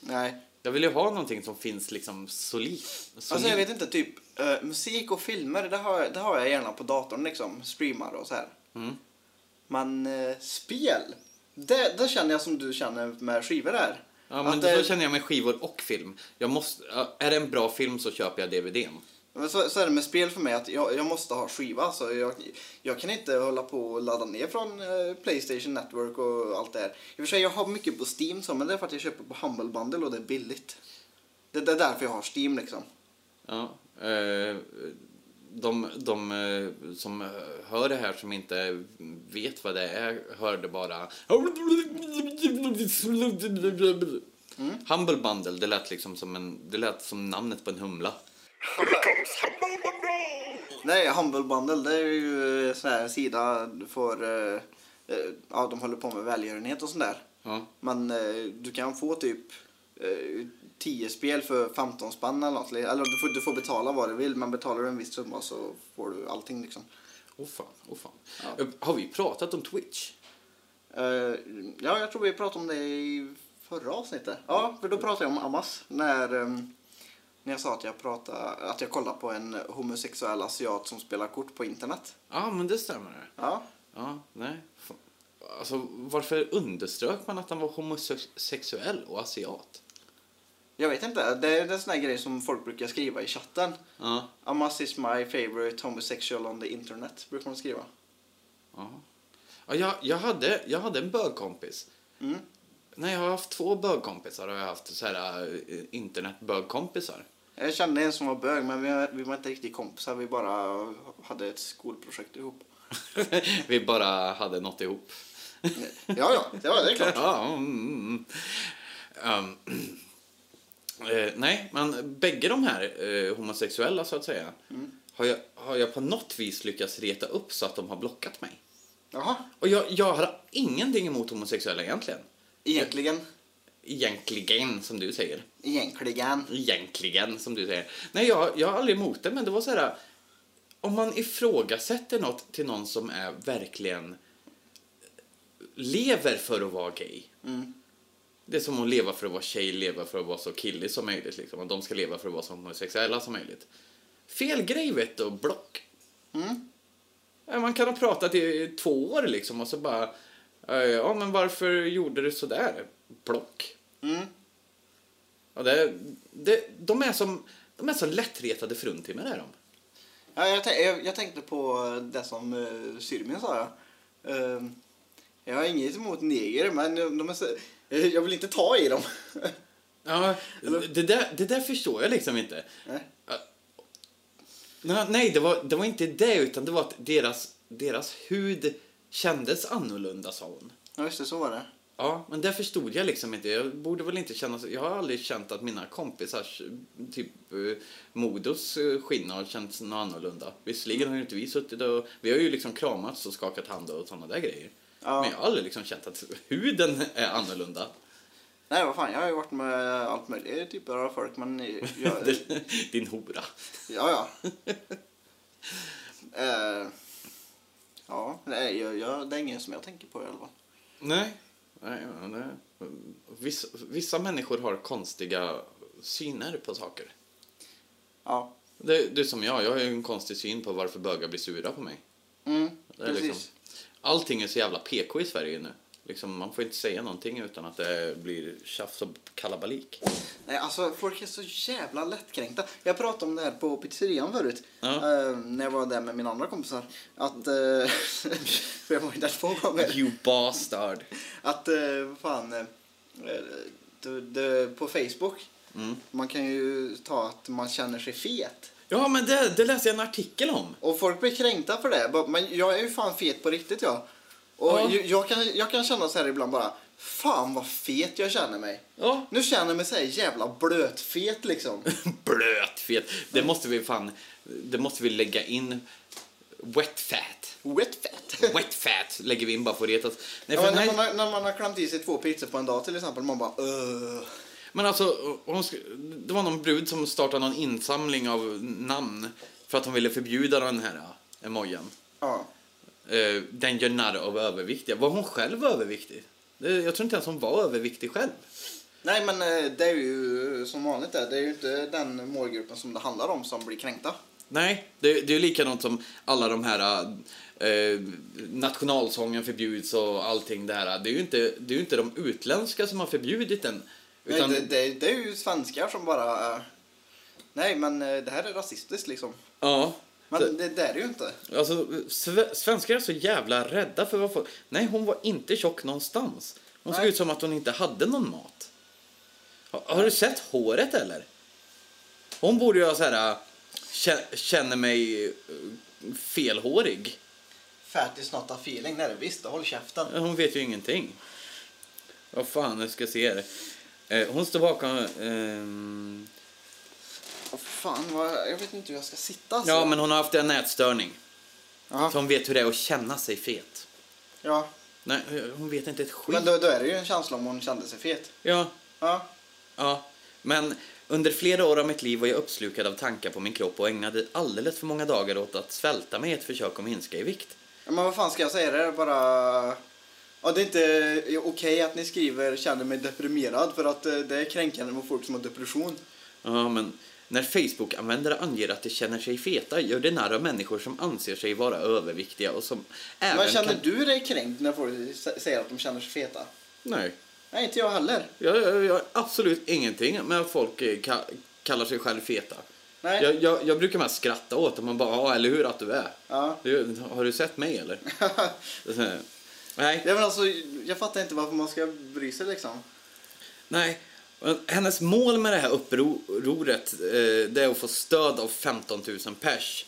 [SPEAKER 3] Nej.
[SPEAKER 4] Jag vill ju ha någonting som finns liksom solid.
[SPEAKER 3] Alltså jag
[SPEAKER 4] solid.
[SPEAKER 3] vet inte, typ eh, musik och filmer, det har, det har jag gärna på datorn liksom. Streamar och så här. Men eh, spel, det, det känner jag som du känner med skivor här.
[SPEAKER 4] Ja, men
[SPEAKER 3] Att,
[SPEAKER 4] då
[SPEAKER 3] eh,
[SPEAKER 4] känner jag med skivor och film. Jag måste, ja, är det en bra film så köper jag DVDn.
[SPEAKER 3] Men så, så är det med spel för mig, att jag, jag måste ha skiva. Alltså, jag, jag kan inte hålla på och ladda ner från eh, Playstation Network och allt det här. I och för sig, jag har mycket på Steam så, men det är för att jag köper på Humble Bundle och det är billigt. Det, det är därför jag har Steam liksom.
[SPEAKER 4] Ja, eh, de de eh, som eh, hör det här som inte vet vad det är hörde bara... Humble Bundle, det lät liksom som en, det lät som namnet på en humla.
[SPEAKER 3] Nej, Humble Bundle, det är ju eh, sån här sida för... eh, eh, ja, de håller på med välgörenhet och sånt där.
[SPEAKER 4] Ja.
[SPEAKER 3] Men eh, du kan få typ eh, 10 spel för 15 spänn eller något. Eller du får, du får betala vad du vill, men betalar du en viss summa så får du allting liksom.
[SPEAKER 4] Åh fan, åh fan. Eh, Har vi pratat om Twitch?
[SPEAKER 3] Eh, ja, jag tror vi pratade om det i förra avsnittet. Ja, för då pratade jag om Amas. När, eh, när jag sa att jag, pratade, att jag kollade på en homosexuell asiat som spelar kort på internet.
[SPEAKER 4] Ja, men det stämmer.
[SPEAKER 3] Ja,
[SPEAKER 4] Ja, nej. Fan. Alltså, varför underströk man att han var homosexuell och asiat?
[SPEAKER 3] jag vet inte. Det är en sån här grej som folk brukar skriva i chatten.
[SPEAKER 4] Ja.
[SPEAKER 3] Amas is my favorite homosexual on the internet, brukar man skriva.
[SPEAKER 4] Ja. Ja, jag, jag, hade, jag hade en bögkompis.
[SPEAKER 3] Mm.
[SPEAKER 4] Nej, jag har haft två bögkompisar och jag har haft så här eh, internetbögkompisar.
[SPEAKER 3] Jag kände en som var bög, men vi, vi var inte riktigt kompisar. Vi bara hade ett skolprojekt ihop.
[SPEAKER 4] Vi bara hade något ihop.
[SPEAKER 3] Ja, ja, det var det är klart.
[SPEAKER 4] Ja, mm, mm. Um, eh, nej, men bägge de här eh, homosexuella så att säga har, jag, har jag på något vis lyckats reta upp så att de har blockat mig.
[SPEAKER 3] Jaha,
[SPEAKER 4] Och jag, jag har ingenting emot homosexuella egentligen.
[SPEAKER 3] egentligen.
[SPEAKER 4] Egentligen, som du säger.
[SPEAKER 3] Egentligen.
[SPEAKER 4] Egentligen, som du säger. Nej, jag, jag har aldrig emot det, men det var så här... Om man ifrågasätter något till någon som är verkligen eh, lever för att vara gay. Det är som att leva för att vara tjej, leva för att vara så killig som möjligt. Liksom. Och de ska leva för att vara så homosexuella som möjligt. Fel grej vet du, och block. Ja, Man kan ha pratat i två år liksom och så bara... eh, Ja, men varför gjorde du sådär? Block. Ja, det, det, de, är som, de är så lättretade fruntimmer är de.
[SPEAKER 3] Ja, jag, tän- jag, jag tänkte på det som uh, Syrmien sa. Ja. Eh, jag har inget emot neger, men de är så, eh, jag vill inte ta i dem.
[SPEAKER 4] Ja, det, där, det där förstår jag liksom inte.
[SPEAKER 3] Nej.
[SPEAKER 4] Ja. Nej, nej det, var, det var inte det, utan det var att deras, deras hud kändes annorlunda, sa hon.
[SPEAKER 3] ja, just det, så var det.
[SPEAKER 4] Ja, men det förstod jag liksom inte. Jag borde väl inte känna så. Jag har aldrig känt att mina kompisars typ eh, modos eh, skinn har känts något annorlunda. Visserligen har ju inte vi suttit och vi har ju liksom kramats och skakat hand och sådana där grejer.
[SPEAKER 3] Ja.
[SPEAKER 4] Men jag har aldrig liksom känt att huden är annorlunda.
[SPEAKER 3] Nej, vad fan, jag har ju varit med allt möjligt typer av folk, men jag, ja,
[SPEAKER 4] Din hora.
[SPEAKER 3] ja. Eh, ja, nej, jag, jag, det är ingen som jag tänker på i alla fall.
[SPEAKER 4] Nej. Nej, men det... vissa, vissa människor har konstiga syner på saker.
[SPEAKER 3] Ja,
[SPEAKER 4] Det, det är som jag, jag har ju en konstig syn på varför bögar blir sura på mig.
[SPEAKER 3] mm.
[SPEAKER 4] Det är
[SPEAKER 3] precis.
[SPEAKER 4] liksom, allting är så jävla PK i Sverige nu. Liksom, man får inte säga någonting utan att det blir tjafs och kalabalik.
[SPEAKER 3] Nej, alltså folk är så jävla lättkränkta. Jag pratade om det här på pizzerian förut.
[SPEAKER 4] Ja.
[SPEAKER 3] Eh, när jag var där med mina andra kompisar. Att, eh, för jag var ju där två gånger.
[SPEAKER 4] You bastard.
[SPEAKER 3] Att, eh, vad fan. eh, det, det, på Facebook. Man kan ju ta att man känner sig fet.
[SPEAKER 4] Ja, men det, det läste jag en artikel om.
[SPEAKER 3] Och folk blir kränkta för det. Bara, Men jag är ju fan fet på riktigt jag. Och
[SPEAKER 4] Ja.
[SPEAKER 3] ju- jag, kan, jag kan känna så här ibland bara. Fan vad fet jag känner mig.
[SPEAKER 4] Ja.
[SPEAKER 3] Nu känner jag mig så här jävla blötfet liksom.
[SPEAKER 4] Blötfet. Det måste vi fan, det måste vi lägga in. Wet fat.
[SPEAKER 3] Wet fat.
[SPEAKER 4] Wet fat lägger vi in bara för att retas. Nej,
[SPEAKER 3] Ja,
[SPEAKER 4] för
[SPEAKER 3] men
[SPEAKER 4] den
[SPEAKER 3] när,
[SPEAKER 4] här-
[SPEAKER 3] man har, när man har klämt i sig två pizzor på en dag till exempel, man bara öh.
[SPEAKER 4] Men alltså, hon sk- det var någon brud som startade någon insamling av namn för att hon ville förbjuda den här eh, emojen.
[SPEAKER 3] Ja.
[SPEAKER 4] Eh, Den gör narr av överviktiga. Var hon själv överviktig? Det- Jag tror inte ens hon var överviktig själv.
[SPEAKER 3] Nej men eh, det är ju eh, som vanligt där. det är ju inte den målgruppen som det handlar om som blir kränkta.
[SPEAKER 4] Nej, det, det är ju likadant som alla de här eh, nationalsången förbjuds och allting det här. Det är ju inte, det är ju inte de utländska som har förbjudit den. Utan,
[SPEAKER 3] Nej, det, det, det är ju svenskar som bara, eh, nej men eh, det här är rasistiskt liksom.
[SPEAKER 4] ja.
[SPEAKER 3] Men
[SPEAKER 4] Så-
[SPEAKER 3] det, det är det ju inte.
[SPEAKER 4] Alltså, sve- svenskar är så jävla rädda för vad folk... Nej, hon var inte tjock någonstans. Hon såg
[SPEAKER 3] Nej.
[SPEAKER 4] ut som att hon inte hade någon mat. Har, har du sett håret eller? Hon borde ju ha så här... äh, kä- Känner mig äh, felhårig.
[SPEAKER 3] Fat is not a feeling, nej det visst, håll käften.
[SPEAKER 4] Hon vet ju ingenting. Vad fan, jag ska se det. Eh, Hon står bakom... ehm,
[SPEAKER 3] Åh, fan, vad, jag vet inte hur jag ska sitta alltså.
[SPEAKER 4] Ja, men hon har haft en nätstörning.
[SPEAKER 3] Ja.
[SPEAKER 4] Så hon vet hur det är att känna sig fet.
[SPEAKER 3] ja.
[SPEAKER 4] Nej, hon vet inte ett skit.
[SPEAKER 3] men då, då är det ju en känsla om hon kände sig fet.
[SPEAKER 4] Ja,
[SPEAKER 3] Ja.
[SPEAKER 4] Ja, men under flera år av mitt liv var jag uppslukad av tankar på min kropp och ägnade alldeles för många dagar åt att svälta mig i ett försök att minska i vikt.
[SPEAKER 3] Ja, Men vad fan ska jag säga? Det är bara... Ja, det är inte okej att ni skriver känner mig deprimerad för att eh, det är kränkande mot folk som har depression.
[SPEAKER 4] Ja, men när Facebook-användare anger att de känner sig feta gör det narr av människor som anser sig vara överviktiga och som även
[SPEAKER 3] Men känner
[SPEAKER 4] kan...
[SPEAKER 3] du dig kränkt när folk sä- säger att de känner sig feta?
[SPEAKER 4] Nej,
[SPEAKER 3] Nej, inte jag heller.
[SPEAKER 4] jag jag- jag har absolut ingenting med att folk eh, ka- kallar sig själv feta.
[SPEAKER 3] Nej.
[SPEAKER 4] Jag, jag, jag brukar mest skratta åt dem och bara, ja, eller hur att du är.
[SPEAKER 3] Ja.
[SPEAKER 4] Du, har du sett mig eller? Nej.
[SPEAKER 3] Ja, men alltså, jag fattar inte varför man ska bry sig liksom.
[SPEAKER 4] Nej, men hennes mål med det här upproret eh, det är att få stöd av 15 000 pers.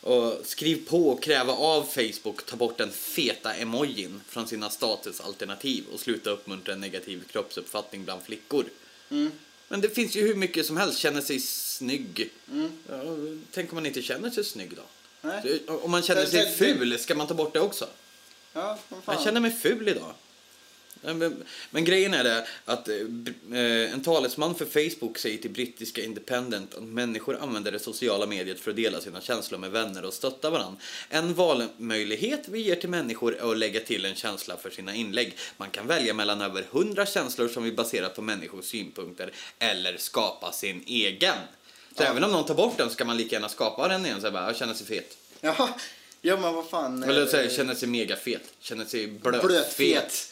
[SPEAKER 4] Och skriv på och kräva av Facebook ta bort den feta emojin från sina statusalternativ och sluta uppmuntra en negativ kroppsuppfattning bland flickor.
[SPEAKER 3] Mm.
[SPEAKER 4] Men det finns ju hur mycket som helst, känner sig snygg. Ja, tänk om man inte känner sig snygg då?
[SPEAKER 3] Mm. Nej.
[SPEAKER 4] Så, Om man känner
[SPEAKER 3] Det-
[SPEAKER 4] sig
[SPEAKER 3] det- det-
[SPEAKER 4] ful, ska man ta bort det också?
[SPEAKER 3] Ja, vad fan.
[SPEAKER 4] Jag känner mig ful idag. Nej, Men, men grejen är det att eh, br- eh, en talesman för Facebook säger till brittiska Independent att människor använder det sociala mediet för att dela sina känslor med vänner och stötta varandra. En valmöjlighet vi ger till människor är att lägga till en känsla för sina inlägg. Man kan välja mellan över 100 känslor som vi baserat på människors synpunkter eller skapa sin egen. Så även om någon tar bort den så kan man lika gärna skapa den igen. Så här bara, jag känner sig fet.
[SPEAKER 3] Ja, ja men vad fan.
[SPEAKER 4] Eller
[SPEAKER 3] eh,
[SPEAKER 4] så här, känner sig megafet. Känner sig blötfet.
[SPEAKER 3] Blötfet.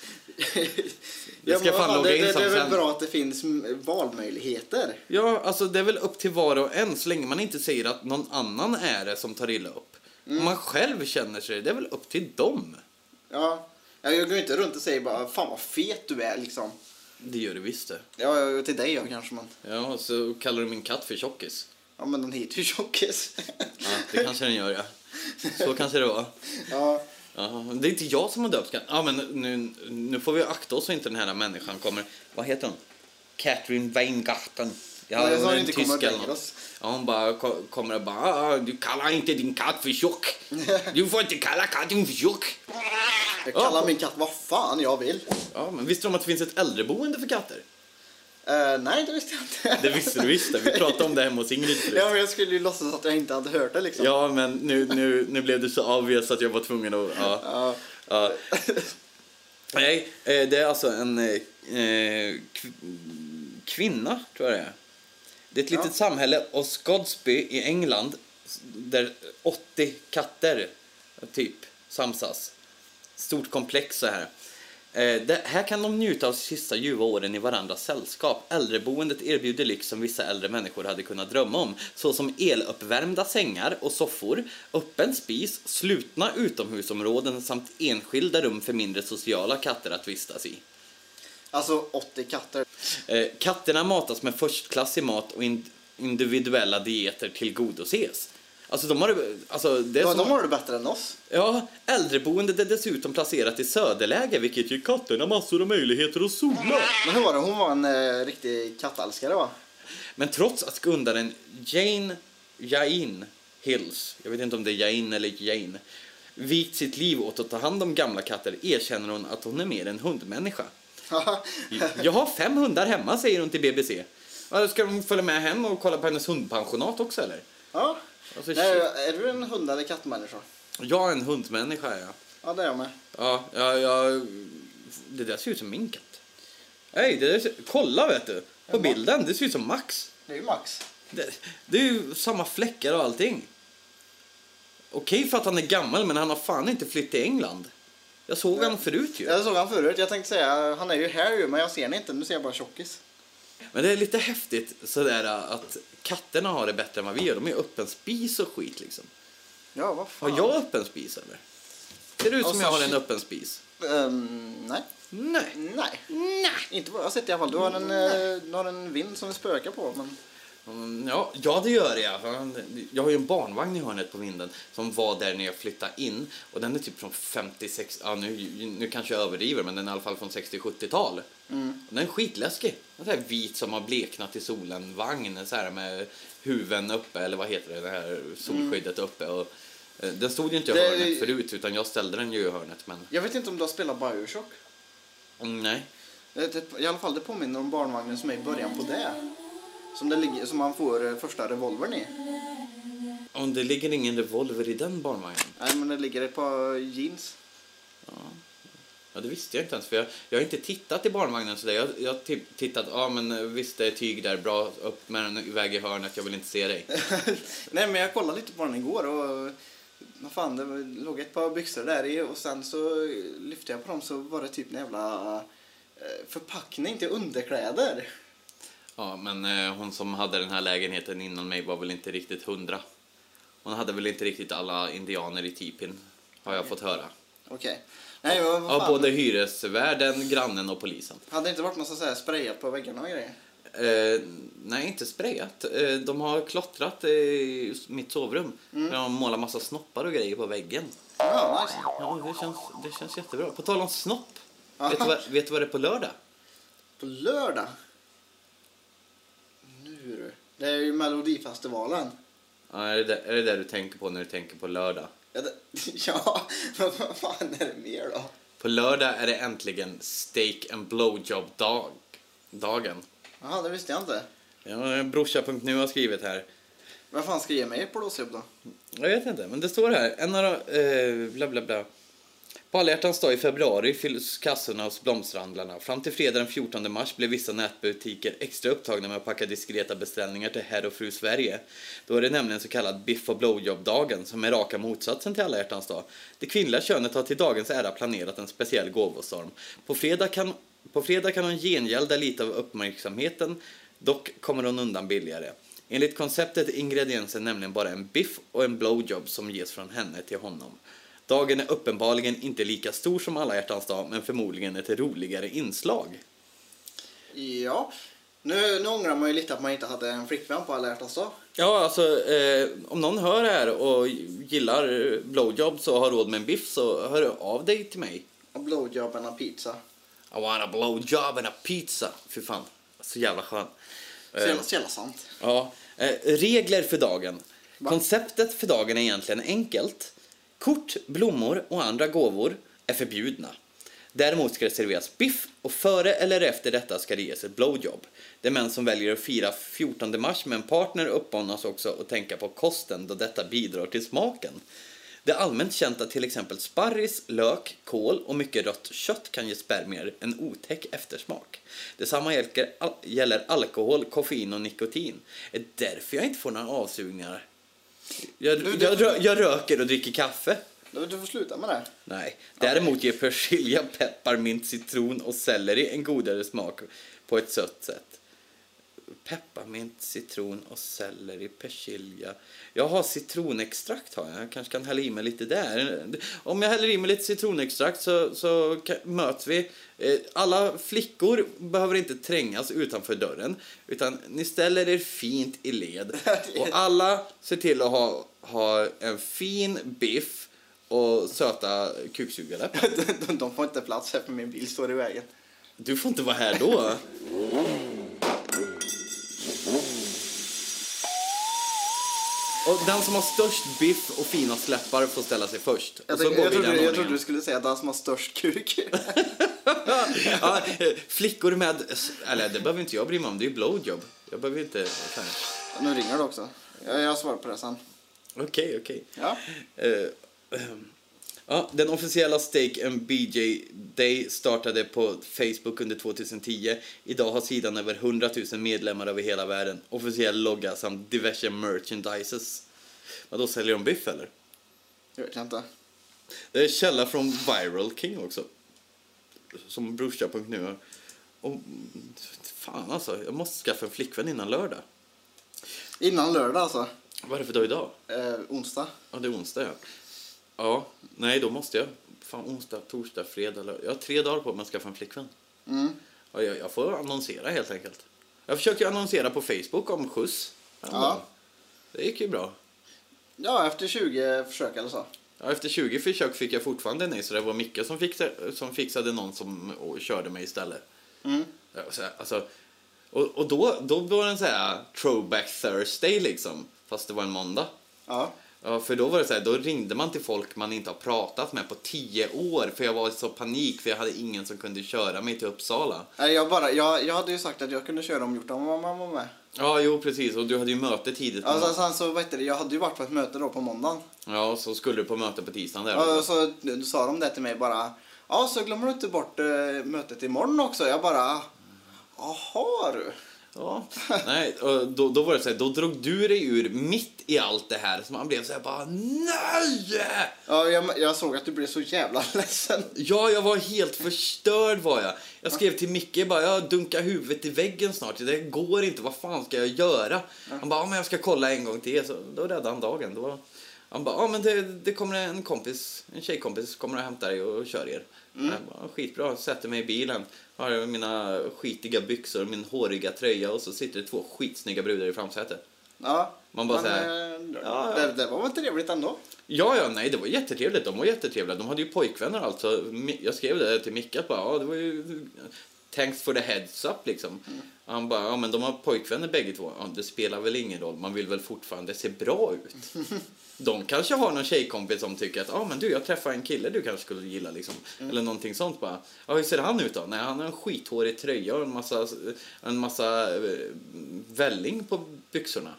[SPEAKER 4] Jag ska
[SPEAKER 3] men vad
[SPEAKER 4] fan logga
[SPEAKER 3] det,
[SPEAKER 4] in
[SPEAKER 3] det,
[SPEAKER 4] som
[SPEAKER 3] det är väl
[SPEAKER 4] sen.
[SPEAKER 3] bra att det finns mm, valmöjligheter.
[SPEAKER 4] Ja, alltså det är väl upp till var och en så länge man inte säger att någon annan är det som tar illa upp.
[SPEAKER 3] Mm.
[SPEAKER 4] Om man själv känner sig det, det är väl upp till dem.
[SPEAKER 3] Ja. Ja, Jag går ju inte runt och säger bara fan vad fet du är liksom.
[SPEAKER 4] Det gör det visst det.
[SPEAKER 3] Ja, ja, till dig jag kanske men.
[SPEAKER 4] Ja, och så kallar du min katt för tjockis.
[SPEAKER 3] Ja men den heter ju Tjockis.
[SPEAKER 4] Ja, det kanske den gör ja. Så kanske det var.
[SPEAKER 3] ja.
[SPEAKER 4] Ja, det är inte jag som har döpt katten. Ja, men nu, nu får vi akta oss så inte den här människan kommer... Vad heter hon? Catherine Weingarten. Ja,
[SPEAKER 3] Nej, jag sa
[SPEAKER 4] hon är
[SPEAKER 3] inte
[SPEAKER 4] en tysk
[SPEAKER 3] kommer att
[SPEAKER 4] eller
[SPEAKER 3] lägga
[SPEAKER 4] något.
[SPEAKER 3] oss.
[SPEAKER 4] Ja, hon bara ko- kommer och bara... "Ah, Du kallar inte din katt för tjock. Du får inte kalla katten för tjock.
[SPEAKER 3] Jag kallar min katt vad fan jag vill.
[SPEAKER 4] Ja, men visste du om att det finns ett äldreboende för katter?
[SPEAKER 3] Eh, nej, det visste jag inte.
[SPEAKER 4] Det visste du visst det. Vi pratade om det hemma hos Ingrid förut.
[SPEAKER 3] Ja, men jag skulle ju låtsas att jag inte hade hört det liksom.
[SPEAKER 4] Ja, men nu, nu, nu blev det så obvious att jag var tvungen att... Ja. ja. Nej, eh, det är alltså en eh, eh, kv- kvinna, tror jag det är. Det är ett litet samhälle, och Scodsby i England, s- där 80 katter eh, typ samsas. Stort komplex så här. Eh, det, här kan de njuta av sista ljuva åren i varandras sällskap. Äldreboendet erbjuder lyx som vissa äldre människor hade kunnat drömma om, såsom eluppvärmda sängar och soffor, öppen spis, slutna utomhusområden samt enskilda rum för mindre sociala katter att vistas i.
[SPEAKER 3] Alltså 80 katter.
[SPEAKER 4] Eh, Katterna matas med förstklassig mat och ind- individuella dieter tillgodoses. Alltså de har det- alltså det är
[SPEAKER 3] Ja,
[SPEAKER 4] som-
[SPEAKER 3] de har det bättre än oss.
[SPEAKER 4] Ja, äldreboendet är dessutom placerat i söderläge vilket ger katterna massor av möjligheter att sola.
[SPEAKER 3] Men hur var det? Hon var en eh, riktig kattälskare va?
[SPEAKER 4] Men trots att skundaren Jane Jain Hills, jag vet inte om det är Jain eller Jane, vikt sitt liv åt att ta hand om gamla katter erkänner hon att hon är mer en hundmänniska. Jag har fem hundar hemma, säger hon till BBC. Ja, Ska de följa med hem och kolla på hennes hundpensionat också eller?
[SPEAKER 3] ja.
[SPEAKER 4] Alltså,
[SPEAKER 3] Nej,
[SPEAKER 4] shit.
[SPEAKER 3] är du en hund eller kattmänniska?
[SPEAKER 4] Jag är en hundmänniska, ja.
[SPEAKER 3] Ja, det är jag med.
[SPEAKER 4] Ja, ja, ja. Det där ser ut som min katt. Nej, det där ser... Kolla vet du! På bilden, det ser ut som Max.
[SPEAKER 3] Det är ju Max.
[SPEAKER 4] Det, det är ju samma fläckar och allting. Okej för att han är gammal, men han har fan inte flytt till England. Jag såg han förut ju.
[SPEAKER 3] Jag såg han förut. Jag tänkte säga, han är ju här ju, men jag ser honom inte. Nu ser jag bara tjockis.
[SPEAKER 4] Men det är lite häftigt sådär att katterna har det bättre än vad vi gör. De är ju öppen spis och skit liksom.
[SPEAKER 3] Ja, vad fan.
[SPEAKER 4] Har jag öppen spis eller? Ser det ut som
[SPEAKER 3] Alltså,
[SPEAKER 4] jag har en
[SPEAKER 3] shit.
[SPEAKER 4] öppen spis?
[SPEAKER 3] Ehm, nej.
[SPEAKER 4] Nej.
[SPEAKER 3] Nej. Nej. Inte vad jag har sett i alla fall. Du har en, eh, du har en vind som vi spökar på. Men...
[SPEAKER 4] Mm, Ja, ja, det gör jag. Jag har ju en barnvagn i hörnet på vinden som var där när jag flyttade in. Och den är typ från 56, ja, nu, nu kanske jag överdriver, men den är i alla fall från 60-70-tal. Och Den är skitläskig. Den är så här vit som har bleknat i solen, vagn så här med huven uppe, eller vad heter det, det här solskyddet uppe. Och, eh, den stod ju inte i
[SPEAKER 3] Det-
[SPEAKER 4] hörnet förut, utan jag ställde den ju i hörnet. Men
[SPEAKER 3] Jag vet inte om du har spelat Bioshock?
[SPEAKER 4] mm, nej.
[SPEAKER 3] Eh, Det, I alla fall, det påminner om barnvagnen som är i början på det. Som, det ligger, som man får eh, första revolvern i.
[SPEAKER 4] Om det ligger ingen revolver i den barnvagnen.
[SPEAKER 3] Nej, men det ligger ett par jeans.
[SPEAKER 4] Ja, det visste jag inte ens. För jag, jag har inte tittat i barnvagnen sådär. Jag jag har typ tittat, ja ah, men eh, visst det är tyg där, bra, upp med den iväg i hörnet, jag vill inte se dig.
[SPEAKER 3] Nej, men jag kollade lite på den igår och vad fan, det var- låg ett par byxor där i och sen så lyfte jag på dem så var det typ en jävla eh, förpackning till underkläder.
[SPEAKER 4] Ja, men eh, hon som hade den här lägenheten innan mig var väl inte riktigt hundra. Hon hade väl inte riktigt alla indianer i tipin, har jag fått höra.
[SPEAKER 3] Okej. Nej, men vad
[SPEAKER 4] Av
[SPEAKER 3] fan.
[SPEAKER 4] både hyresvärden, grannen och polisen.
[SPEAKER 3] Hade det inte varit massa så här sprayat på väggarna och grejer?
[SPEAKER 4] Eh, nej, inte sprayat. Eh, de har klottrat eh, i mitt sovrum.
[SPEAKER 3] Mm.
[SPEAKER 4] De har målat massa snoppar och grejer på väggen.
[SPEAKER 3] Ja, nice.
[SPEAKER 4] Ja, det känns, det känns jättebra. På tal om snopp. Vet du, vad, vet du vad det är på lördag?
[SPEAKER 3] På lördag? Nu du. Det är ju Melodifestivalen.
[SPEAKER 4] Ja, är, det, där- är det där du tänker på när du tänker på lördag?
[SPEAKER 3] Ja, det, ja, men vad fan är det mer då?
[SPEAKER 4] På lördag är det äntligen steak and blowjob-dagen. Dagen.
[SPEAKER 3] Jaha, det visste jag inte.
[SPEAKER 4] Ja, Brorsa.nu har skrivit här.
[SPEAKER 3] Vad fan ska ge mig ett blåsjobb då?
[SPEAKER 4] Jag vet inte, men det står här. En av de- eh, bla bla bla. På alla hjärtans dag i februari fylls kassorna hos blomsterhandlarna. Fram till fredag den 14 mars blev vissa nätbutiker extra upptagna med att packa diskreta beställningar till herr och fru Sverige. Då är det nämligen så kallad biff och blowjob-dagen som är raka motsatsen till alla hjärtans dag. Det kvinnliga könet har till dagens ära planerat en speciell gåvostorm. På fredag kan, på fredag kan hon gengälda lite av uppmärksamheten, dock kommer hon undan billigare. Enligt konceptet är ingrediensen nämligen bara en biff och en blowjob som ges från henne till honom. Dagen är uppenbarligen inte lika stor som alla hjärtans dag, men förmodligen ett roligare inslag.
[SPEAKER 3] Ja. Nu, nu ångrar man ju lite att man inte hade en flickvän på alla hjärtans dag.
[SPEAKER 4] Ja, alltså eh, om någon hör det här och gillar eh, blowjobs och har råd med en biff så hör av dig till mig.
[SPEAKER 3] Och blowjobben och pizza.
[SPEAKER 4] I want a blowjob and a pizza. Fy fan, så jävla skön.
[SPEAKER 3] Så
[SPEAKER 4] Eh,
[SPEAKER 3] jävla, så jävla sant.
[SPEAKER 4] Ja. Eh, regler för dagen. Konceptet för dagen är egentligen enkelt. Kort, blommor och andra gåvor är förbjudna. Däremot ska det serveras biff och före eller efter detta ska det ges ett blowjob. De män som väljer att fira 14 mars med en partner uppmanas också att tänka på kosten då detta bidrar till smaken. Det är allmänt känt att till exempel sparris, lök, kål och mycket rött kött kan ge spermier en otäck eftersmak. Detsamma gäller, al- gäller alkohol, koffein och nikotin. Det är därför jag inte får några avsugningar. Jag, jag, rö- jag röker och dricker kaffe.
[SPEAKER 3] Du, du får sluta med det.
[SPEAKER 4] Nej. Däremot ger persilja, pepparmint, citron och selleri en godare smak på ett sött sätt. Pepparmint, citron och selleri, persilja. Jag har citronextrakt har jag. Jag kanske kan hälla i mig lite där. Om jag häller i mig lite citronextrakt så, så ka- möts vi. Eh, Alla flickor behöver inte trängas utanför dörren. Utan ni ställer er fint i led. Och alla ser till att ha, ha en fin biff och söta kuksugarläppar.
[SPEAKER 3] De, de får inte plats här för min bil står i vägen.
[SPEAKER 4] Du får inte vara här då. Och den som har störst biff och finast läppar får ställa sig först.
[SPEAKER 3] Jag,
[SPEAKER 4] Och så går
[SPEAKER 3] tänkte- jag,
[SPEAKER 4] vi i den
[SPEAKER 3] trodde, jag trodde
[SPEAKER 4] ordningen.
[SPEAKER 3] du skulle säga att han som har störst kuk.
[SPEAKER 4] ja, eh, flickor med... Eller det behöver inte jag bry mig om, det är ju blowjob. Jag behöver inte... fan.
[SPEAKER 3] nu ringer det också. Jag, jag svarar på det sen.
[SPEAKER 4] Okej, okej.
[SPEAKER 3] Ja.
[SPEAKER 4] Eh, ehm, ja, den officiella Steak and BJ Day startade på Facebook under 2010. Idag har sidan över 100 000 medlemmar över hela världen, officiell logga samt diverse merchandises. Men då säljer de biff eller?
[SPEAKER 3] Jag vet inte.
[SPEAKER 4] Det är källa från Viral King också. Som brorsa.nu. har. Och mm, fan alltså, jag måste skaffa en flickvän innan lördag.
[SPEAKER 3] Innan lördag alltså.
[SPEAKER 4] Vad är det för dag idag?
[SPEAKER 3] Eh, onsdag.
[SPEAKER 4] Ja, det är onsdag, ja. Ja, nej, då måste jag. Fan, onsdag, torsdag, fredag, lördag. Jag har tre dagar på mig att skaffa en flickvän. Ja, jag, jag får annonsera helt enkelt. Jag försöker annonsera på Facebook om skjuts.
[SPEAKER 3] Ja.
[SPEAKER 4] Det gick ju bra.
[SPEAKER 3] Ja, efter 20 försök eller så.
[SPEAKER 4] Ja, efter 20 försök fick jag fortfarande nej, så det var Micke som fixade, som fixade någon som och, körde mig istället. Ja, så, alltså, och, och då, då var den så här throwback Thursday liksom, fast det var en måndag.
[SPEAKER 3] Ja.
[SPEAKER 4] Ja, för då var det så här, då ringde man till folk man inte har pratat med på tio år för jag var i så panik för jag hade ingen som kunde köra mig till Uppsala.
[SPEAKER 3] Nej, Jag, bara, jag, jag hade ju sagt att jag kunde köra om gjort om mamma var med.
[SPEAKER 4] Ja, jo precis och du hade ju möte tidigt. på
[SPEAKER 3] Alltså,
[SPEAKER 4] må-
[SPEAKER 3] sen så, vad heter det, jag hade ju varit på ett möte då på måndagen.
[SPEAKER 4] Ja, och så skulle du på möte på tisdagen där.
[SPEAKER 3] Och så sa de det till mig bara. Ja, så glömmer du inte bort eh, mötet imorgon också. Jag bara, jaha du.
[SPEAKER 4] Ja. Nej, och då, då var det så här, då drog du dig ur mitt i allt det här så man blev så här bara NEJ!
[SPEAKER 3] Ja, jag, jag såg att du blev så jävla ledsen.
[SPEAKER 4] Ja, jag var helt förstörd var jag. Jag skrev till Micke bara, jag dunkar huvudet i väggen snart. Det går inte, vad fan ska jag göra? Han bara, ja men jag ska kolla en gång till. Så då räddade han dagen. Då, han bara, ja men det, det kommer en kompis, en tjejkompis kommer och hämtar dig och kör er. Jag bara, skitbra, sätter mig i bilen. Har mina skitiga byxor, min håriga tröja och så sitter det två skitsnygga brudar i framsätet.
[SPEAKER 3] Ja.
[SPEAKER 4] Man bara
[SPEAKER 3] men,
[SPEAKER 4] så
[SPEAKER 3] eh,
[SPEAKER 4] ja, ja.
[SPEAKER 3] Det, det var väl trevligt ändå.
[SPEAKER 4] Ja, ja, nej, det var jättetrevligt. De var jättetrevliga. De hade ju pojkvänner och allt. Så Mi- jag skrev det till Micke att bara, ja, det var ju thanks for the heads up liksom. Han bara, ja men de har pojkvänner bägge två. Ja, det spelar väl ingen roll, man vill väl fortfarande se bra ut. De kanske har någon tjejkompis som tycker att, ja men du, jag träffade en kille du kanske skulle gilla liksom. Eller någonting sånt bara. Ja, hur ser han ut då? Nej, han har en skithårig tröja och en massa, en massa eh, välling på byxorna.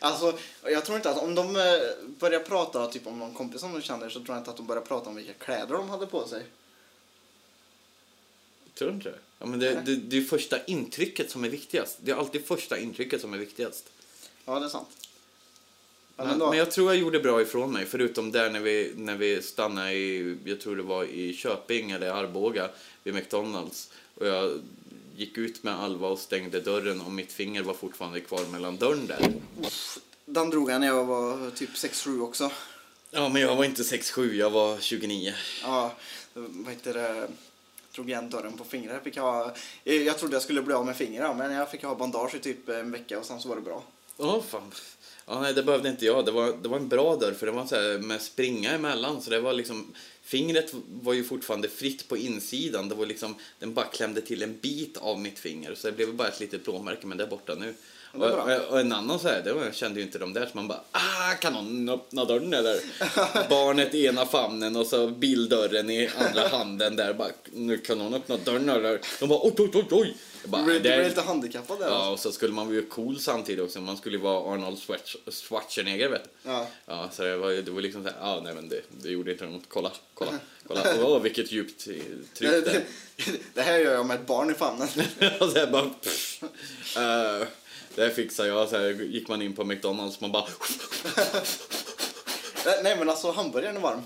[SPEAKER 3] Alltså, jag tror inte att om de eh, börjar prata typ om någon kompis som de känner så tror jag inte att de börjar prata om vilka kläder de hade på sig.
[SPEAKER 4] Tror du inte det? Ja, men det, det, det är ju första intrycket som är viktigast. Det är alltid första intrycket som är viktigast.
[SPEAKER 3] Ja, det är sant. Men,
[SPEAKER 4] Men,
[SPEAKER 3] ändå.
[SPEAKER 4] men jag tror jag gjorde bra ifrån mig, förutom där när vi, när vi stannade i, jag tror det var i Köping eller Arboga, vid McDonalds. Och jag gick ut med Alva och stängde dörren och mitt finger var fortfarande kvar mellan dörren där.
[SPEAKER 3] Den drog jag när jag var typ 6-7 också.
[SPEAKER 4] Ja, men jag var inte 6-7, jag var 29.
[SPEAKER 3] Ja, vad heter det? Drog igen dörren på fingrar. Jag, fick ha, eh, jag trodde jag skulle bli av med fingrar men jag fick ha bandage i typ en vecka och sen så var det bra.
[SPEAKER 4] Ja, fan. Ja, nej, det behövde inte jag. Det var, det var en bra dörr, för det var så här med springa emellan. Så det var liksom, fingret var ju fortfarande fritt på insidan. Det var liksom, den bara klämde till en bit av mitt finger. Så det blev bara ett litet blåmärke, men det är borta nu.
[SPEAKER 3] det är
[SPEAKER 4] Och,
[SPEAKER 3] bra.
[SPEAKER 4] och, och en annan så här, det var, jag kände ju inte de där. Så man bara, ah, kan någon öppna dörren eller? Barnet i ena famnen och så bildörren i andra handen där. Bara, nu kan någon öppna dörren eller? De bara, oj, oj, oj, oj. Jag
[SPEAKER 3] Du
[SPEAKER 4] bara,
[SPEAKER 3] blev, du
[SPEAKER 4] det-
[SPEAKER 3] blev lite handikappad där. alltså.
[SPEAKER 4] Ja,
[SPEAKER 3] Ja.
[SPEAKER 4] och så skulle man vara cool samtidigt också. Man skulle ju vara Arnold Schwarz- Schwarzenegger, vet du.
[SPEAKER 3] Ja.
[SPEAKER 4] ja så det var, ju- det var liksom så här, ah, nej men det, det gjorde inte något. Kolla, kolla, kolla. Åh, vilket djupt eh,
[SPEAKER 3] Det,
[SPEAKER 4] tryck där.
[SPEAKER 3] det, det här gör jag med ett barn i famnen.
[SPEAKER 4] och så här bara, pff, eh, det här fixar jag. Så här gick man in på McDonalds, man bara,
[SPEAKER 3] Nej men alltså hamburgaren är varm.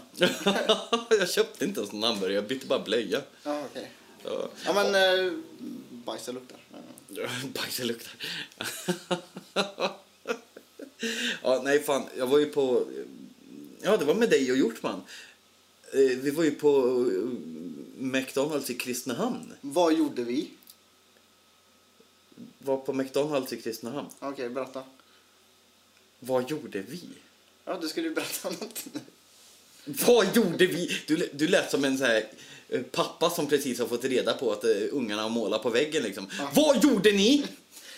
[SPEAKER 4] jag köpte inte ens någon hamburgare, jag bytte bara blöja.
[SPEAKER 3] Ja, okej.
[SPEAKER 4] Ja.
[SPEAKER 3] Ja men eh, bajset luktar.
[SPEAKER 4] Bajset luktar. ja, nej fan, jag var ju på... Ja, det var med dig och Hjortman. Eh, Vi var ju på eh, McDonalds i Kristinehamn.
[SPEAKER 3] Vad gjorde vi?
[SPEAKER 4] Var på McDonalds i Kristinehamn.
[SPEAKER 3] Okej, berätta.
[SPEAKER 4] Vad gjorde vi?
[SPEAKER 3] Ja, du skulle ju berätta något.
[SPEAKER 4] Vad gjorde vi? Du, du lät som en så här eh, pappa som precis har fått reda på att eh, ungarna har målat på väggen liksom. Vad gjorde ni?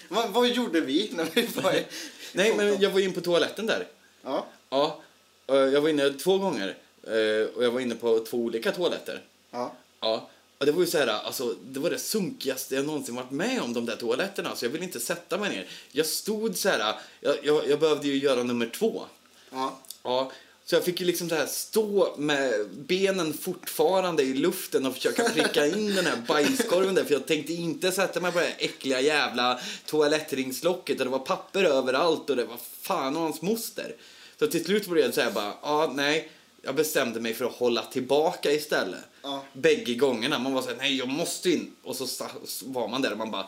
[SPEAKER 3] Vad, vad gjorde vi när vi var i...
[SPEAKER 4] Nej, men jag var ju in på toaletten där.
[SPEAKER 3] Ja,
[SPEAKER 4] Ja, eh, jag var inne två gånger. eh, Och jag var inne på två olika toaletter.
[SPEAKER 3] ja.
[SPEAKER 4] Ja. Och det var ju så här, alltså, det var det sunkigaste jag någonsin varit med om, de där toaletterna. Så jag ville inte sätta mig ner. Jag stod så här, jag, jag, jag behövde ju göra nummer två.
[SPEAKER 3] ja.
[SPEAKER 4] Ja. Så jag fick ju liksom så här stå med benen fortfarande i luften och försöka pricka in den här bajskorven där. För jag tänkte inte sätta mig på det här äckliga jävla toalettringslocket. Och det var papper överallt och det var fan och hans moster. Så till slut blev det så här bara, ja nej. Jag bestämde mig för att hålla tillbaka istället.
[SPEAKER 3] Ja.
[SPEAKER 4] Bägge gångerna. Man var så här, nej jag måste in. Och så sta- var man där och man bara,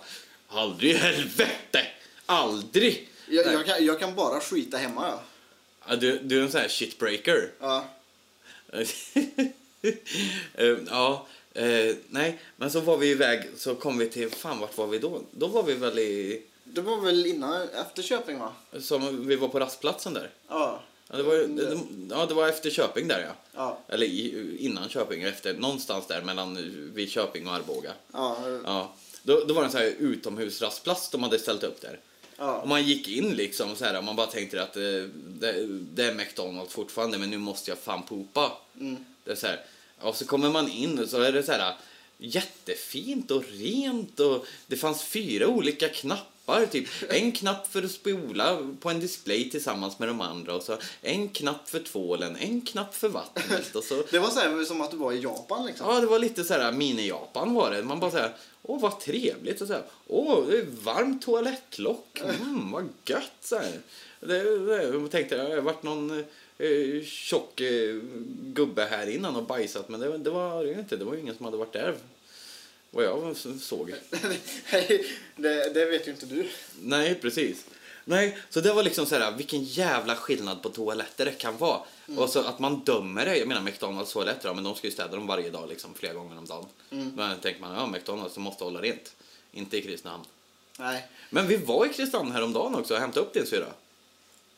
[SPEAKER 4] aldrig i helvete! Aldrig!
[SPEAKER 3] Jag, jag, kan, jag kan bara skita hemma, ja.
[SPEAKER 4] Ja, du, du är en sån här shitbreaker.
[SPEAKER 3] ja.
[SPEAKER 4] Eh, ja, eh, nej, men så var vi iväg, så kom vi till, fan vart var vi då? Då var vi väl i,
[SPEAKER 3] Det var väl innan, efter Köping, va?
[SPEAKER 4] som vi var på rastplatsen där.
[SPEAKER 3] Ja.
[SPEAKER 4] Ja, det var, ju- det, ja, det var efter Köping där ja.
[SPEAKER 3] Ja.
[SPEAKER 4] Eller i, innan Köping, efter, någonstans där mellan eh, vid Köping och Arboga.
[SPEAKER 3] Ja, eh,
[SPEAKER 4] Ja. Då, då var det en sån här utomhusrastplats de hade ställt upp där.
[SPEAKER 3] Ja.
[SPEAKER 4] Och man gick in liksom så här, och man bara tänkte att eh, det, det är McDonalds fortfarande men nu måste jag fan popa. Det är så här. Och så kommer man in och så är det så här jättefint och rent och det fanns fyra olika knappar typ. En knapp för att spola på en display tillsammans med de andra och så en knapp för tvålen, en knapp för vattnet och så
[SPEAKER 3] Det var så här, som att du var i Japan, liksom.
[SPEAKER 4] Ja, det var lite så här mini-Japan var det. Man bara så här, åh vad trevligt och så här, åh det är varmt toalettlock, mm, vad gött så här. Det, det, jag tänkte, det har varit någon eh, tjock eh, gubbe här innan och bajsat, men det, det var det ju inte. Det var ju ingen som hade varit där, vad jag såg.
[SPEAKER 3] det, det vet ju inte du.
[SPEAKER 4] Nej, precis. Nej, så det var liksom så här, vilken jävla skillnad på toaletter det kan vara.
[SPEAKER 3] Mm.
[SPEAKER 4] Och så att man dömer det. Jag menar McDonalds toaletter, ja, men de ska ju städa dem varje dag, liksom flera gånger om dagen.
[SPEAKER 3] Mm.
[SPEAKER 4] Men tänker man, ja McDonalds, de måste hålla rent. Inte i Kristinehamn.
[SPEAKER 3] Nej.
[SPEAKER 4] Men vi var i Kristinehamn häromdagen också och hämtade upp din syrra.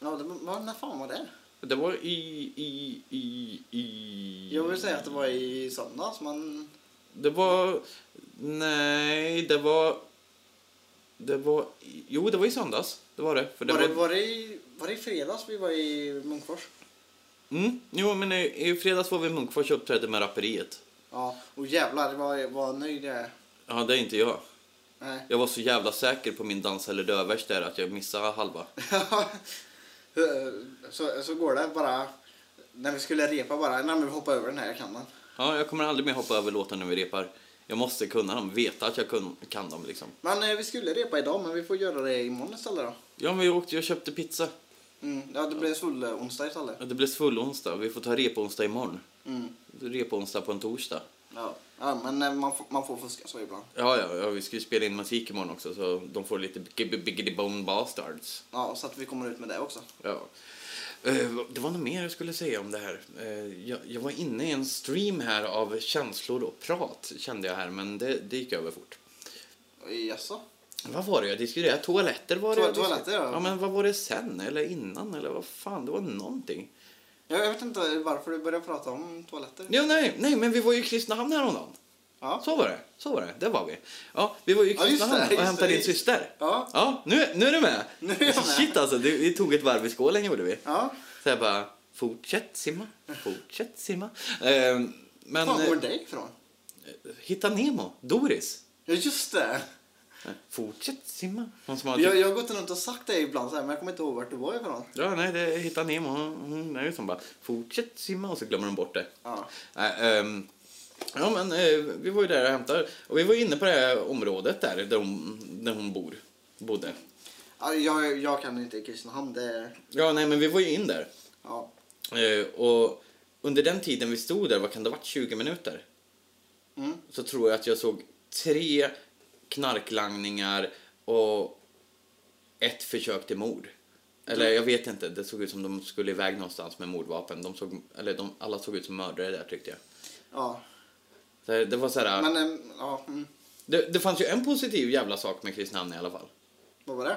[SPEAKER 3] Ja, det var, när fan var det?
[SPEAKER 4] Det var i, i, i, i...
[SPEAKER 3] Jag vill säga att det var i söndags, men...
[SPEAKER 4] Det var... Nej, det var... Det var... Jo, det var i söndags. Det var det. För det
[SPEAKER 3] Var det, var, det i, var det i fredags vi var i Munkfors?
[SPEAKER 4] Mm. Jo, men i, i fredags var vi i Munkfors och uppträdde med Rapperiet.
[SPEAKER 3] Ja, och jävlar vad, vad nöjd jag är.
[SPEAKER 4] Ja, det är inte jag.
[SPEAKER 3] Nej.
[SPEAKER 4] Jag var så jävla säker på min dans eller dövers där att jag missade halva.
[SPEAKER 3] så, så går det bara, när vi skulle repa bara, nej men vi hoppar över den här, jag kan den.
[SPEAKER 4] Ja, jag kommer aldrig mer hoppa över låten när vi repar. Jag måste kunna dem, veta att jag kun, kan dem liksom.
[SPEAKER 3] Men eh, vi skulle repa idag, men vi får göra det imorgon istället då.
[SPEAKER 4] Ja, men jag åkte, jag köpte pizza.
[SPEAKER 3] Mm. Ja, det blir full onsdag istället.
[SPEAKER 4] Ja, Det blev full onsdag. Vi får ta reponsdag imorgon.
[SPEAKER 3] Mm.
[SPEAKER 4] Reponsdag på en torsdag.
[SPEAKER 3] Ja. ja, men eh, man, får- man får fuska så ibland.
[SPEAKER 4] Ja, ja, ja, vi ska ju spela in musik imorgon också så de får lite Biggity biggity Bone Bastards.
[SPEAKER 3] Ja, så att vi kommer ut med det också.
[SPEAKER 4] Ja. Eh, Det var något mer jag skulle säga om det här. Eh, Jag, jag var inne i en stream här av känslor och prat kände jag här, men det, det gick över fort.
[SPEAKER 3] Jaså?
[SPEAKER 4] Vad var det jag diskuterade? Toaletter var det
[SPEAKER 3] Toa-
[SPEAKER 4] jag diskuterade.
[SPEAKER 3] toaletter, ja.
[SPEAKER 4] ja. men vad var det sen eller innan eller vad fan, det var någonting.
[SPEAKER 3] Jag, jag vet inte varför du började prata om toaletter.
[SPEAKER 4] Ja, nej, nej, men vi var ju i Kristinehamn häromdagen.
[SPEAKER 3] Ja.
[SPEAKER 4] Så var det, så var det, det var vi. Ja, vi var ju i
[SPEAKER 3] Ja, just det,
[SPEAKER 4] Kristinehamn
[SPEAKER 3] just
[SPEAKER 4] och
[SPEAKER 3] det,
[SPEAKER 4] hämtade din
[SPEAKER 3] just det.
[SPEAKER 4] syster.
[SPEAKER 3] Ja.
[SPEAKER 4] ja nu, nu är du med.
[SPEAKER 3] Nu är jag med.
[SPEAKER 4] Shit alltså, det, vi tog ett varv i skålen gjorde vi.
[SPEAKER 3] Ja.
[SPEAKER 4] Så jag bara, fortsätt simma, fortsätt simma. Eh, men
[SPEAKER 3] Var
[SPEAKER 4] eh,
[SPEAKER 3] går det ifrån?
[SPEAKER 4] Hitta Nemo, Doris.
[SPEAKER 3] Ja, just det!
[SPEAKER 4] Fortsätt simma. Någon som har
[SPEAKER 3] Jag, jag har gått runt och sagt det ibland, så här, men jag kommer inte ihåg vart det var ifrån.
[SPEAKER 4] Ja, nej, det hittar Nemo. Hon, hon är ju som bara fortsätt simma och så glömmer de bort det.
[SPEAKER 3] Ja.
[SPEAKER 4] Nej, ehm, ja, men eh, vi var ju där och hämtade. Och vi var inne på det här området där, där hon, där hon bor, bodde.
[SPEAKER 3] Ja, Jag, jag kan inte Kristinehamn, det är...
[SPEAKER 4] Ja, nej, men vi var ju in där.
[SPEAKER 3] Ja.
[SPEAKER 4] Eh, och under den tiden vi stod där, vad kan det ha varit, 20 minuter?
[SPEAKER 3] Mm.
[SPEAKER 4] Så tror jag att jag såg tre knarklangningar och ett försök till mord. Eller
[SPEAKER 3] Mm.
[SPEAKER 4] jag vet inte, det såg ut som de skulle iväg någonstans med mordvapen. De såg, eller de, alla såg ut som mördare där tyckte jag.
[SPEAKER 3] ja.
[SPEAKER 4] Det, det var så här,
[SPEAKER 3] Men, äm, ja. Mm.
[SPEAKER 4] det, det fanns ju en positiv jävla sak med Kristinehamn i alla fall.
[SPEAKER 3] Vad var det?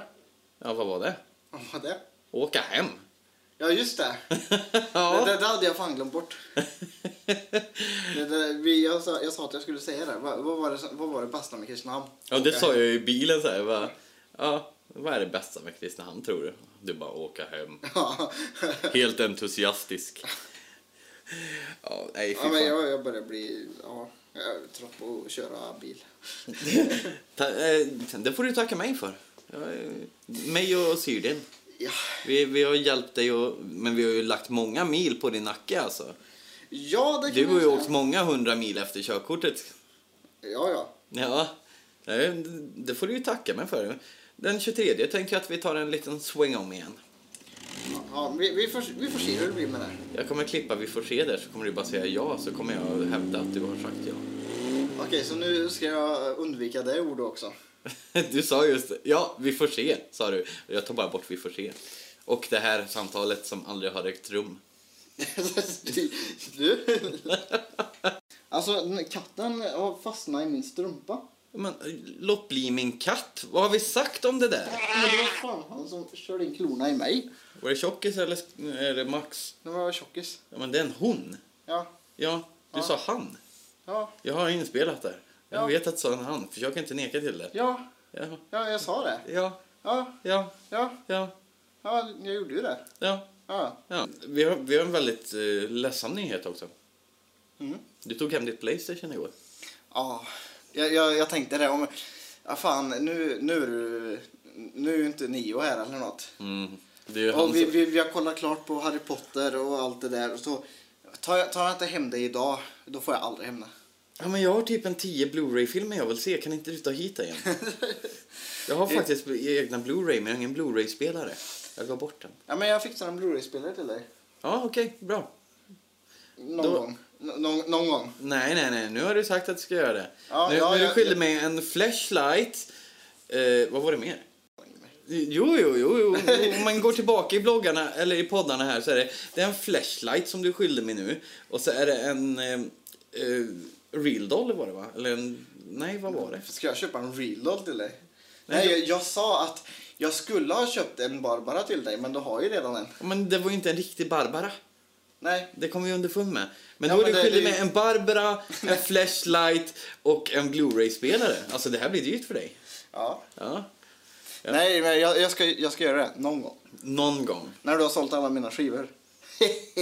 [SPEAKER 4] Ja, vad var det?
[SPEAKER 3] Vad var det?
[SPEAKER 4] Åka hem.
[SPEAKER 3] Ja, just det.
[SPEAKER 4] ja.
[SPEAKER 3] Det, det, det hade jag fan glömt bort. Det, det, vi, jag, sa, jag sa att jag skulle säga det. Vad, vad, var, det som- vad var det bästa med Kristinehamn?
[SPEAKER 4] Ja, det sa jag i bilen så här. Jag Bara, ja, vad är det bästa med Kristinehamn tror du? Du bara åka hem.
[SPEAKER 3] Ja,
[SPEAKER 4] Helt entusiastisk. Ja, nej fy
[SPEAKER 3] ja men
[SPEAKER 4] fan.
[SPEAKER 3] jag, jag börjar bli ja, jag är trött på att köra bil.
[SPEAKER 4] Ta, eh, det får du tacka mig för. Jag, eh, mig och Syrdin.
[SPEAKER 3] Ja,
[SPEAKER 4] Vi, vi har hjälpt dig och, men vi har ju lagt många mil på din nacke alltså.
[SPEAKER 3] ja det kan
[SPEAKER 4] Du
[SPEAKER 3] man
[SPEAKER 4] har ju
[SPEAKER 3] säga.
[SPEAKER 4] åkt många hundra mil efter körkortet.
[SPEAKER 3] Ja, ja.
[SPEAKER 4] Ja, nej, det får du ju tacka mig för. Den 23 tänkte jag att vi tar en liten swing om igen.
[SPEAKER 3] ja vi, vi, får, vi får se hur det blir med det.
[SPEAKER 4] Jag kommer klippa, vi får se där, så kommer du bara säga ja, så kommer jag hävda att du har sagt ja.
[SPEAKER 3] Okej, så nu ska jag undvika det ordet också.
[SPEAKER 4] Du sa just ja, vi får se, sa du. Jag tar bara bort vi får se. Och det här samtalet som aldrig har ägt rum.
[SPEAKER 3] du. Alltså, katten har fastnat i min strumpa.
[SPEAKER 4] Men låt bli min katt, vad har vi sagt om det där?
[SPEAKER 3] Men det var fan han som körde in klorna i mig.
[SPEAKER 4] Var det Tjockis eller är det Max?
[SPEAKER 3] Det var tjockis.
[SPEAKER 4] Ja, men det är en hon.
[SPEAKER 3] Ja,
[SPEAKER 4] Ja, du sa han.
[SPEAKER 3] ja,
[SPEAKER 4] Jag har inspelat där. Jag
[SPEAKER 3] Ja.
[SPEAKER 4] vet att du sa en han, försök inte neka till det.
[SPEAKER 3] ja,
[SPEAKER 4] Ja,
[SPEAKER 3] ja, jag sa det.
[SPEAKER 4] ja,
[SPEAKER 3] Ja,
[SPEAKER 4] ja,
[SPEAKER 3] ja,
[SPEAKER 4] ja,
[SPEAKER 3] ja, jag gjorde ju det.
[SPEAKER 4] ja.
[SPEAKER 3] Ja,
[SPEAKER 4] Ja, vi har, vi har en väldigt eh, ledsam nyhet också.
[SPEAKER 3] Mm.
[SPEAKER 4] Du tog hem ditt Playstation igår.
[SPEAKER 3] ja. Jag, jag, jag tänkte det om... Ja, fan, nu, nu är du... Nu är ju inte Nio här eller något.
[SPEAKER 4] Det är ju han
[SPEAKER 3] Och vi,
[SPEAKER 4] som...
[SPEAKER 3] vi, vi har kollat klart på Harry Potter och allt det där. Och så tar jag, tar jag inte hem det idag, då får jag aldrig hem det.
[SPEAKER 4] Ja, men jag har typ en 10 Blu-ray-filmer jag vill se. Kan inte du ta hit den igen? jag
[SPEAKER 3] Eh.
[SPEAKER 4] har faktiskt egna Blu-ray, men jag har ingen Blu-ray-spelare. Jag gav bort den.
[SPEAKER 3] Ja, men jag fixar en Blu-ray-spelare till dig.
[SPEAKER 4] Ja, okej, bra.
[SPEAKER 3] Någon
[SPEAKER 4] Då-
[SPEAKER 3] gång. Nå- någon- någon gång.
[SPEAKER 4] Nej, nej, nej. Nu har du sagt att du ska göra det.
[SPEAKER 3] Ja,
[SPEAKER 4] nu
[SPEAKER 3] ja,
[SPEAKER 4] nu
[SPEAKER 3] jag-
[SPEAKER 4] skyllde
[SPEAKER 3] jag-
[SPEAKER 4] mig en flashlight. Eh, vad var det mer? Jo, jo, jo, jo. Om man går tillbaka i bloggarna eller i poddarna här så är det, det är en flashlight som du skyllde mig nu. Och så är det en eh, eh, real doll var det va? Eller en, nej, vad var det?
[SPEAKER 3] Ska jag köpa en reload till dig? Nej, jag, jag sa att jag skulle ha köpt en Barbara till dig, men du har ju redan en.
[SPEAKER 4] Men det var ju inte en riktig Barbara.
[SPEAKER 3] Nej,
[SPEAKER 4] Det kom vi underfund med. Men
[SPEAKER 3] Ja,
[SPEAKER 4] då har
[SPEAKER 3] men
[SPEAKER 4] du
[SPEAKER 3] det-
[SPEAKER 4] skyldig
[SPEAKER 3] det-
[SPEAKER 4] mig en Barbara, en flashlight och en Blu-ray-spelare. Alltså det här blir dyrt för dig.
[SPEAKER 3] ja.
[SPEAKER 4] Ja,
[SPEAKER 3] Nej, men jag, jag, ska, jag ska göra det någon gång.
[SPEAKER 4] någon gång.
[SPEAKER 3] När du har sålt alla mina skivor.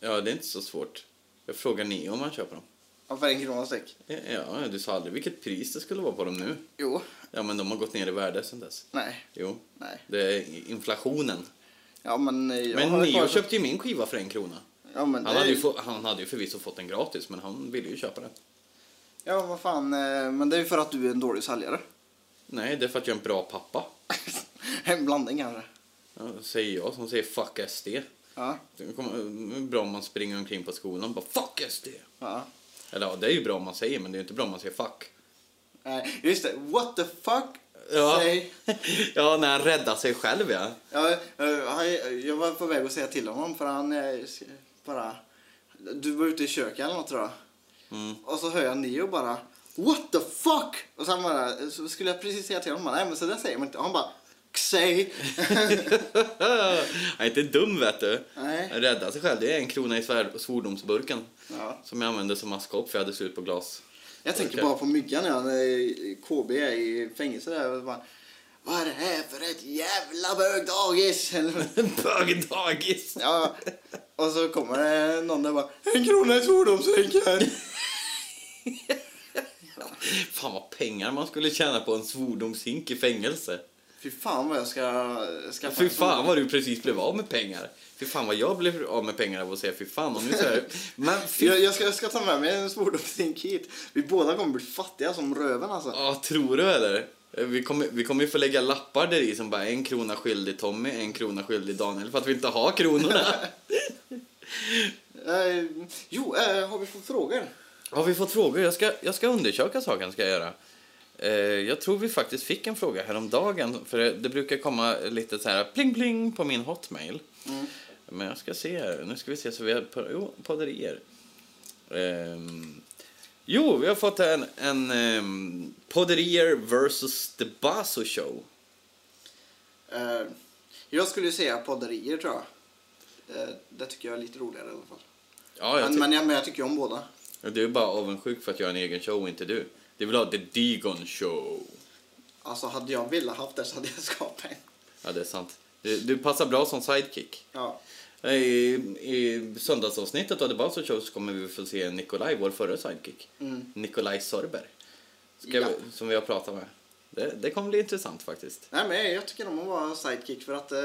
[SPEAKER 4] Ja, det är inte så svårt. Jag frågar Neo om han köper dem.
[SPEAKER 3] Ja, för en krona styck.
[SPEAKER 4] Ja, du sa aldrig vilket pris det skulle vara på dem nu.
[SPEAKER 3] Jo.
[SPEAKER 4] Ja, men de har gått ner i värde sedan dess.
[SPEAKER 3] Nej.
[SPEAKER 4] Jo,
[SPEAKER 3] Nej.
[SPEAKER 4] det är inflationen.
[SPEAKER 3] Ja, men eh, jag
[SPEAKER 4] men
[SPEAKER 3] har
[SPEAKER 4] Neo
[SPEAKER 3] kvar-
[SPEAKER 4] köpte ju min skiva för en krona.
[SPEAKER 3] Ja, men
[SPEAKER 4] Han
[SPEAKER 3] det...
[SPEAKER 4] hade, ju få, han hade ju förvisso fått den gratis, men han ville ju köpa den.
[SPEAKER 3] Ja, vad fan. eh, Men det är ju för att du är en dålig säljare.
[SPEAKER 4] Nej, det är för att jag är en bra pappa.
[SPEAKER 3] En blandning kanske.
[SPEAKER 4] Ja, säger jag som säger fuck SD.
[SPEAKER 3] Ja.
[SPEAKER 4] Det kommer- bra om man springer omkring på skolan och bara fuck SD.
[SPEAKER 3] ja.
[SPEAKER 4] Eller ja, det är ju bra om man säger, men det är ju inte bra om man säger fuck.
[SPEAKER 3] Nej, just det. What the fuck?
[SPEAKER 4] Ja,
[SPEAKER 3] Säg.
[SPEAKER 4] ja när han räddar sig själv ja.
[SPEAKER 3] Ja, eh, han- jag var på väg att säga till honom för han eh, s- bara... Du var ute i köket eller något tror jag.
[SPEAKER 4] Mm.
[SPEAKER 3] Och så hör jag Neo bara What the fuck? Och sen bara, så skulle jag precis säga till honom, nej men så där säger man inte. Och han bara, säg.
[SPEAKER 4] Han är inte dum vet du.
[SPEAKER 3] Nej.
[SPEAKER 4] Han räddar sig själv. Det är en krona i svär- svordomsburken.
[SPEAKER 3] Ja.
[SPEAKER 4] Som jag använde som maskop för jag hade slut på glas.
[SPEAKER 3] Jag tänker
[SPEAKER 4] Okej.
[SPEAKER 3] bara på Myggan när han, eh, KB är i fängelse där. Och bara, Vad är det här för ett jävla bögdagis? Eller-
[SPEAKER 4] Bögdagis!
[SPEAKER 3] Ja, och så kommer det någon där bara En krona i svordomsränkan.
[SPEAKER 4] Fan vad pengar man skulle tjäna på en svordomshink i fängelse.
[SPEAKER 3] Fy fan vad jag ska skaffa
[SPEAKER 4] Fy
[SPEAKER 3] en
[SPEAKER 4] fan
[SPEAKER 3] sån.
[SPEAKER 4] vad du precis blev av med pengar. Fy fan vad jag blev av med pengar av att säga fy fan. Och nu så här, men fy
[SPEAKER 3] Jag, jag, ska, jag ska ta med mig en svordomsdrink hit. Vi båda kommer bli fattiga som röven alltså.
[SPEAKER 4] Ja, tror du eller? Vi kommer, vi kommer ju få lägga lappar där i som bara en krona skyldig Tommy, en krona skyldig Daniel för att vi inte har kronorna.
[SPEAKER 3] Eh, jo, eh, har vi fått frågor?
[SPEAKER 4] har vi fått frågor? Jag ska, jag ska undersöka saken ska jag göra. Eh, jag tror vi faktiskt fick en fråga häromdagen för det, det brukar komma lite så här pling pling på min hotmail. Men jag ska se här. Nu ska vi se så vi har på, jo, podderier. Ehm, jo, vi har fått en, en ehm, podderier versus the Basso show.
[SPEAKER 3] Eh, jag skulle ju säga podderier tror jag. Eh, det tycker jag är lite roligare i alla fall.
[SPEAKER 4] Ja, jag
[SPEAKER 3] men,
[SPEAKER 4] tyck-
[SPEAKER 3] men, jag, men jag tycker ju om båda.
[SPEAKER 4] Och Du är bara avundsjuk för att jag har en egen show och inte du. Du vill ha The Degon Show.
[SPEAKER 3] Alltså hade jag velat haft det så hade jag skapat en.
[SPEAKER 4] Ja, det är sant. Du, du passar bra som sidekick.
[SPEAKER 3] Ja.
[SPEAKER 4] Eh, I, I söndagsavsnittet av The Bowser Show så kommer vi få se Nikolaj, vår förre sidekick. Nikolaj Sorber. Ska
[SPEAKER 3] Mm. Ja.
[SPEAKER 4] vi, som vi har pratat med. Det, det kommer bli intressant faktiskt.
[SPEAKER 3] Nej men jag tycker om att vara sidekick för att eh,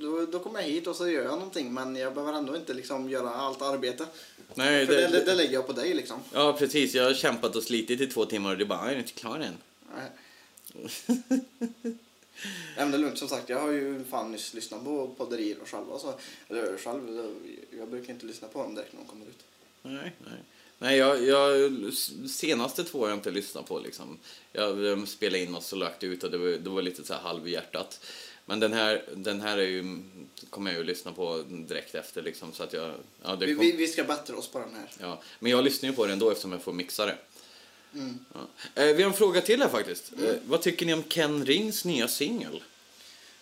[SPEAKER 3] då, då kommer jag hit och så gör jag någonting men jag behöver ändå inte liksom göra allt arbete.
[SPEAKER 4] Nej,
[SPEAKER 3] För det, det, det
[SPEAKER 4] det,
[SPEAKER 3] lägger jag på dig liksom.
[SPEAKER 4] ja, precis. Jag har kämpat och slitit i två timmar och du bara, jag är inte klar än.
[SPEAKER 3] Nej. Nej, men det är lugnt som sagt. Jag har ju fan nyss lyssnat på podderier och själva. Så, eller själv, jag brukar inte lyssna på dem direkt när de kommer ut.
[SPEAKER 4] Nej, nej. Nej, jag, jag, senaste två har jag inte lyssnat på. Liksom. Jag eh, spelade in och så lagt ut och det var, det var lite så här halvhjärtat. Men den här, den här är ju, kommer jag ju lyssna på direkt efter. Liksom, så att jag, ja, det
[SPEAKER 3] Vi,
[SPEAKER 4] kom,
[SPEAKER 3] vi, vi ska bättra oss på den här.
[SPEAKER 4] Ja. Men jag lyssnar ju på den ändå eftersom jag får mixa det.
[SPEAKER 3] Mm.
[SPEAKER 4] Ja. Eh, vi har en fråga till här faktiskt. Eh, vad tycker ni om Ken Rings nya singel?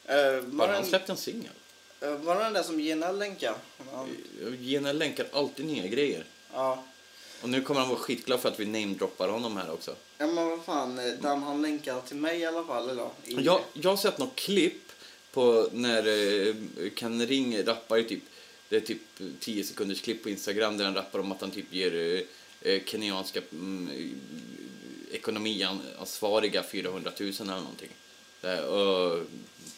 [SPEAKER 3] Eh,
[SPEAKER 4] Har
[SPEAKER 3] var,
[SPEAKER 4] han
[SPEAKER 3] den,
[SPEAKER 4] släppt en singel?
[SPEAKER 3] eh, var den där som Gina länkade? Ja.
[SPEAKER 4] Gene länkar alltid nya grejer.
[SPEAKER 3] ja.
[SPEAKER 4] Och nu kommer han vara skitglad för att vi namedroppar honom här också.
[SPEAKER 3] Ja, men vad fan, eh, den han länkade till mig i alla fall. Eller, då, i,
[SPEAKER 4] Jag, jag har sett något klipp på när eh, Ken Ring rappar i typ, det är typ 10 sekunders klipp på Instagram där han rappar om att han typ ger eh, eh, kenyanska mm, eh, ekonomiansvariga 400 000 eller någonting. Det här, och,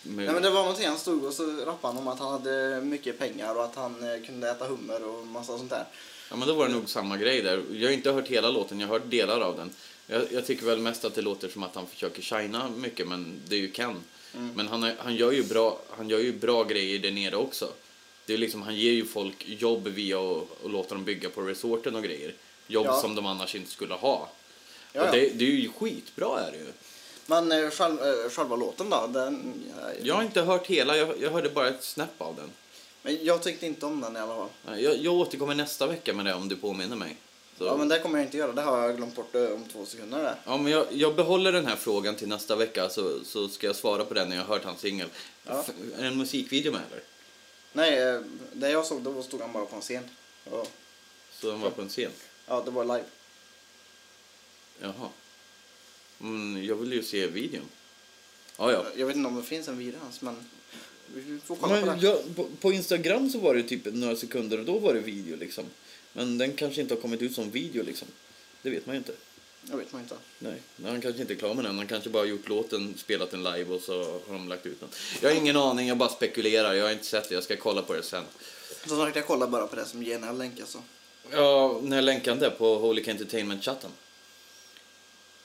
[SPEAKER 4] med,
[SPEAKER 3] Nej, men det var någonting han stod och så rappade han om att han hade mycket pengar och att han eh, kunde äta hummer och massa sånt där.
[SPEAKER 4] Ja men då var det nog samma grej där. Jag har inte hört hela låten, jag har hört delar av den. Jag, jag tycker väl mest att det låter som att han försöker shina mycket, men det är ju Ken.
[SPEAKER 3] Mm.
[SPEAKER 4] Men han, har- han, gör ju bra, han gör ju bra grejer där nere också. Det är liksom, han ger ju folk jobb via att och låta dem bygga på resorten och grejer. Jobb
[SPEAKER 3] Ja.
[SPEAKER 4] som de annars inte skulle ha.
[SPEAKER 3] Ja,
[SPEAKER 4] och
[SPEAKER 3] ja.
[SPEAKER 4] det, det är ju skitbra är det ju.
[SPEAKER 3] Men eh, själv, eh, själva låten då? Den, eh,
[SPEAKER 4] Jag har inte hört hela, jag, jag hörde bara ett snäpp av den.
[SPEAKER 3] Men jag tyckte inte om den i alla fall.
[SPEAKER 4] Nej, Jag, jag återkommer nästa vecka med det om du påminner mig. Så-
[SPEAKER 3] Ja men det kommer jag inte göra, det har jag glömt bort eh, om två sekunder där.
[SPEAKER 4] Ja, men jag, jag behåller den här frågan till nästa vecka så, så ska jag svara på den när jag har hört hans singel. F- Är det en musikvideo med eller?
[SPEAKER 3] Nej, eh, det jag såg då stod han bara på en scen. Ja,
[SPEAKER 4] Så den var på en scen?
[SPEAKER 3] ja det var live.
[SPEAKER 4] Jaha. Mm, jag vill ju se videon. Ja, ja.
[SPEAKER 3] Jag vet inte om det finns en video ens men vi får kolla på
[SPEAKER 4] Men
[SPEAKER 3] det.
[SPEAKER 4] jag, på, på Instagram så var det typ några sekunder och då var det video liksom. Men den kanske inte har kommit ut som video liksom. Det vet man ju inte.
[SPEAKER 3] Jag vet man inte.
[SPEAKER 4] Nej, men han kanske inte är klar med den. Han kanske bara har gjort låten, spelat den live och så har de lagt ut den. Jag har ingen aning, jag bara spekulerar. Jag har inte sett det, jag ska kolla på det sen.
[SPEAKER 3] Som sagt jag kollar bara på det som Gena länkar så.
[SPEAKER 4] Ja, när länkade han det på Holy Entertainment-chatten?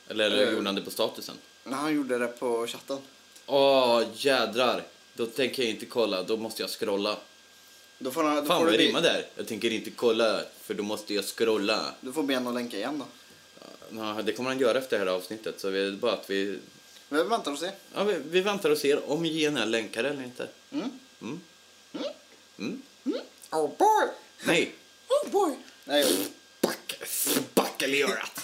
[SPEAKER 4] Eller, eller
[SPEAKER 3] Eh.
[SPEAKER 4] gjorde han det på statusen?
[SPEAKER 3] När han gjorde det på chatten.
[SPEAKER 4] Åh, jädrar! Då tänker jag inte kolla, då måste jag scrolla.
[SPEAKER 3] Då får, han, då
[SPEAKER 4] Fan
[SPEAKER 3] får
[SPEAKER 4] vad
[SPEAKER 3] du,
[SPEAKER 4] jag
[SPEAKER 3] be,
[SPEAKER 4] rimmade där. Jag tänker inte kolla, för då måste jag scrolla.
[SPEAKER 3] du får be honom länka igen då.
[SPEAKER 4] Ja, det kommer han göra efter det här avsnittet, så vi, det är bara att vi,
[SPEAKER 3] Men vi väntar och se.
[SPEAKER 4] ja, vi... Vi väntar och ser om GNR länkar eller inte.
[SPEAKER 2] Oh boy!
[SPEAKER 4] Nej!
[SPEAKER 2] Oh boy!
[SPEAKER 3] Nej,
[SPEAKER 1] Spackel i örat.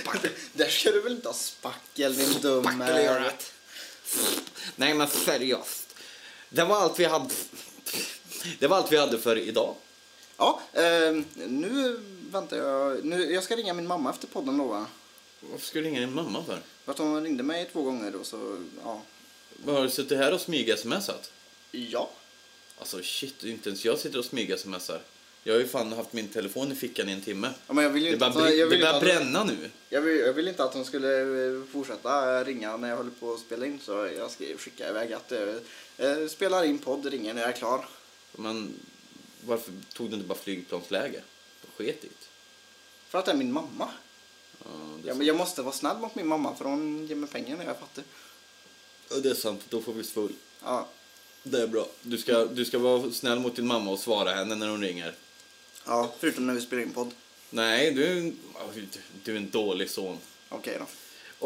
[SPEAKER 1] Spackel
[SPEAKER 3] där ska du väl inte ha spackel din dumme...
[SPEAKER 1] spackel i örat.
[SPEAKER 4] Nej, men seriöst. Det var allt vi hade... Det var allt vi hade för idag.
[SPEAKER 3] Ja, eh, nu väntar jag. Nu, jag ska ringa min mamma efter podden lovar jag.
[SPEAKER 4] Varför ska du ringa din mamma för?
[SPEAKER 3] För att hon ringde mig två gånger och så, ja.
[SPEAKER 4] Har du suttit här och smyg-smsat?
[SPEAKER 3] Ja.
[SPEAKER 4] Alltså shit, inte ens jag sitter och smyg-smsar. Jag har ju fan haft min telefon i fickan i en timme.
[SPEAKER 3] Ja, men jag vill ju
[SPEAKER 4] det
[SPEAKER 3] inte
[SPEAKER 4] bara,
[SPEAKER 3] att- jag
[SPEAKER 4] br- det
[SPEAKER 3] vill
[SPEAKER 4] bara
[SPEAKER 3] inte att-
[SPEAKER 4] bränna nu.
[SPEAKER 3] Jag vill, jag vill inte att hon skulle eh, fortsätta ringa när jag håller på att spela in så jag skrev, skickade iväg att eh, eh, spelar in podd, ringer när jag är klar.
[SPEAKER 4] Men varför tog du inte bara flygplansläge? Sket i det.
[SPEAKER 3] För att det är min mamma.
[SPEAKER 4] Ja, det, är
[SPEAKER 3] Ja, men jag måste vara snäll mot min mamma för hon ger mig pengar när jag är fattig.
[SPEAKER 4] sant. det är sant, då får vi full.
[SPEAKER 3] Ja,
[SPEAKER 4] Det är bra. Du ska, du ska vara snäll mot din mamma och svara henne när hon ringer.
[SPEAKER 3] ja förutom när vi spelar in podd.
[SPEAKER 4] Nej, du, du är en dålig son.
[SPEAKER 3] Okej då.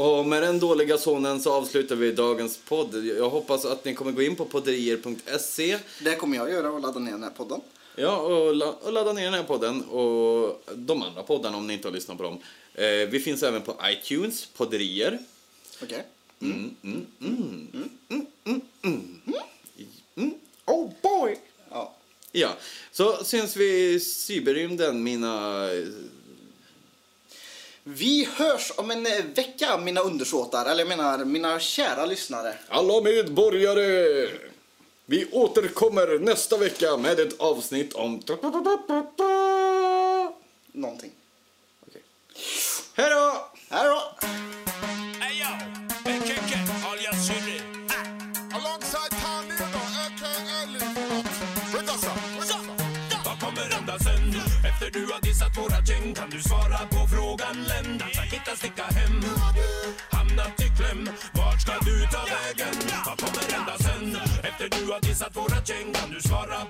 [SPEAKER 4] Och med den dåliga sonen så avslutar vi dagens podd. Jag hoppas att ni kommer gå in på podderier.se
[SPEAKER 3] Det kommer jag göra och ladda ner den här podden.
[SPEAKER 4] ja, och, la- och ladda ner den här podden och de andra poddarna om ni inte har lyssnat på dem. Eh, vi finns även på iTunes, podderier.
[SPEAKER 3] Okej. Mm.
[SPEAKER 4] Mm, mm.
[SPEAKER 2] Oh boy.
[SPEAKER 3] Ja.
[SPEAKER 4] Ja, så syns vi i cyberrymden mina...
[SPEAKER 3] Vi hörs om en eh, vecka mina undersåtar, eller jag menar mina kära lyssnare.
[SPEAKER 4] Alla medborgare! Vi återkommer nästa vecka med ett avsnitt om...
[SPEAKER 3] Någonting.
[SPEAKER 4] Hej då!
[SPEAKER 3] Här då!
[SPEAKER 6] Ayo, Ekeke, alias Syrre.
[SPEAKER 10] Alongside Palino, aka Lindblad. Regatta,
[SPEAKER 6] Vad kommer hända sen? Efter du har dissat våra gäng kan du svara på frågan lämna Sakita sticka hem Hamnat i kläm, vart ska du ta vägen? Vad kommer hända sen? Efter du har dissat våra gäng kan du svara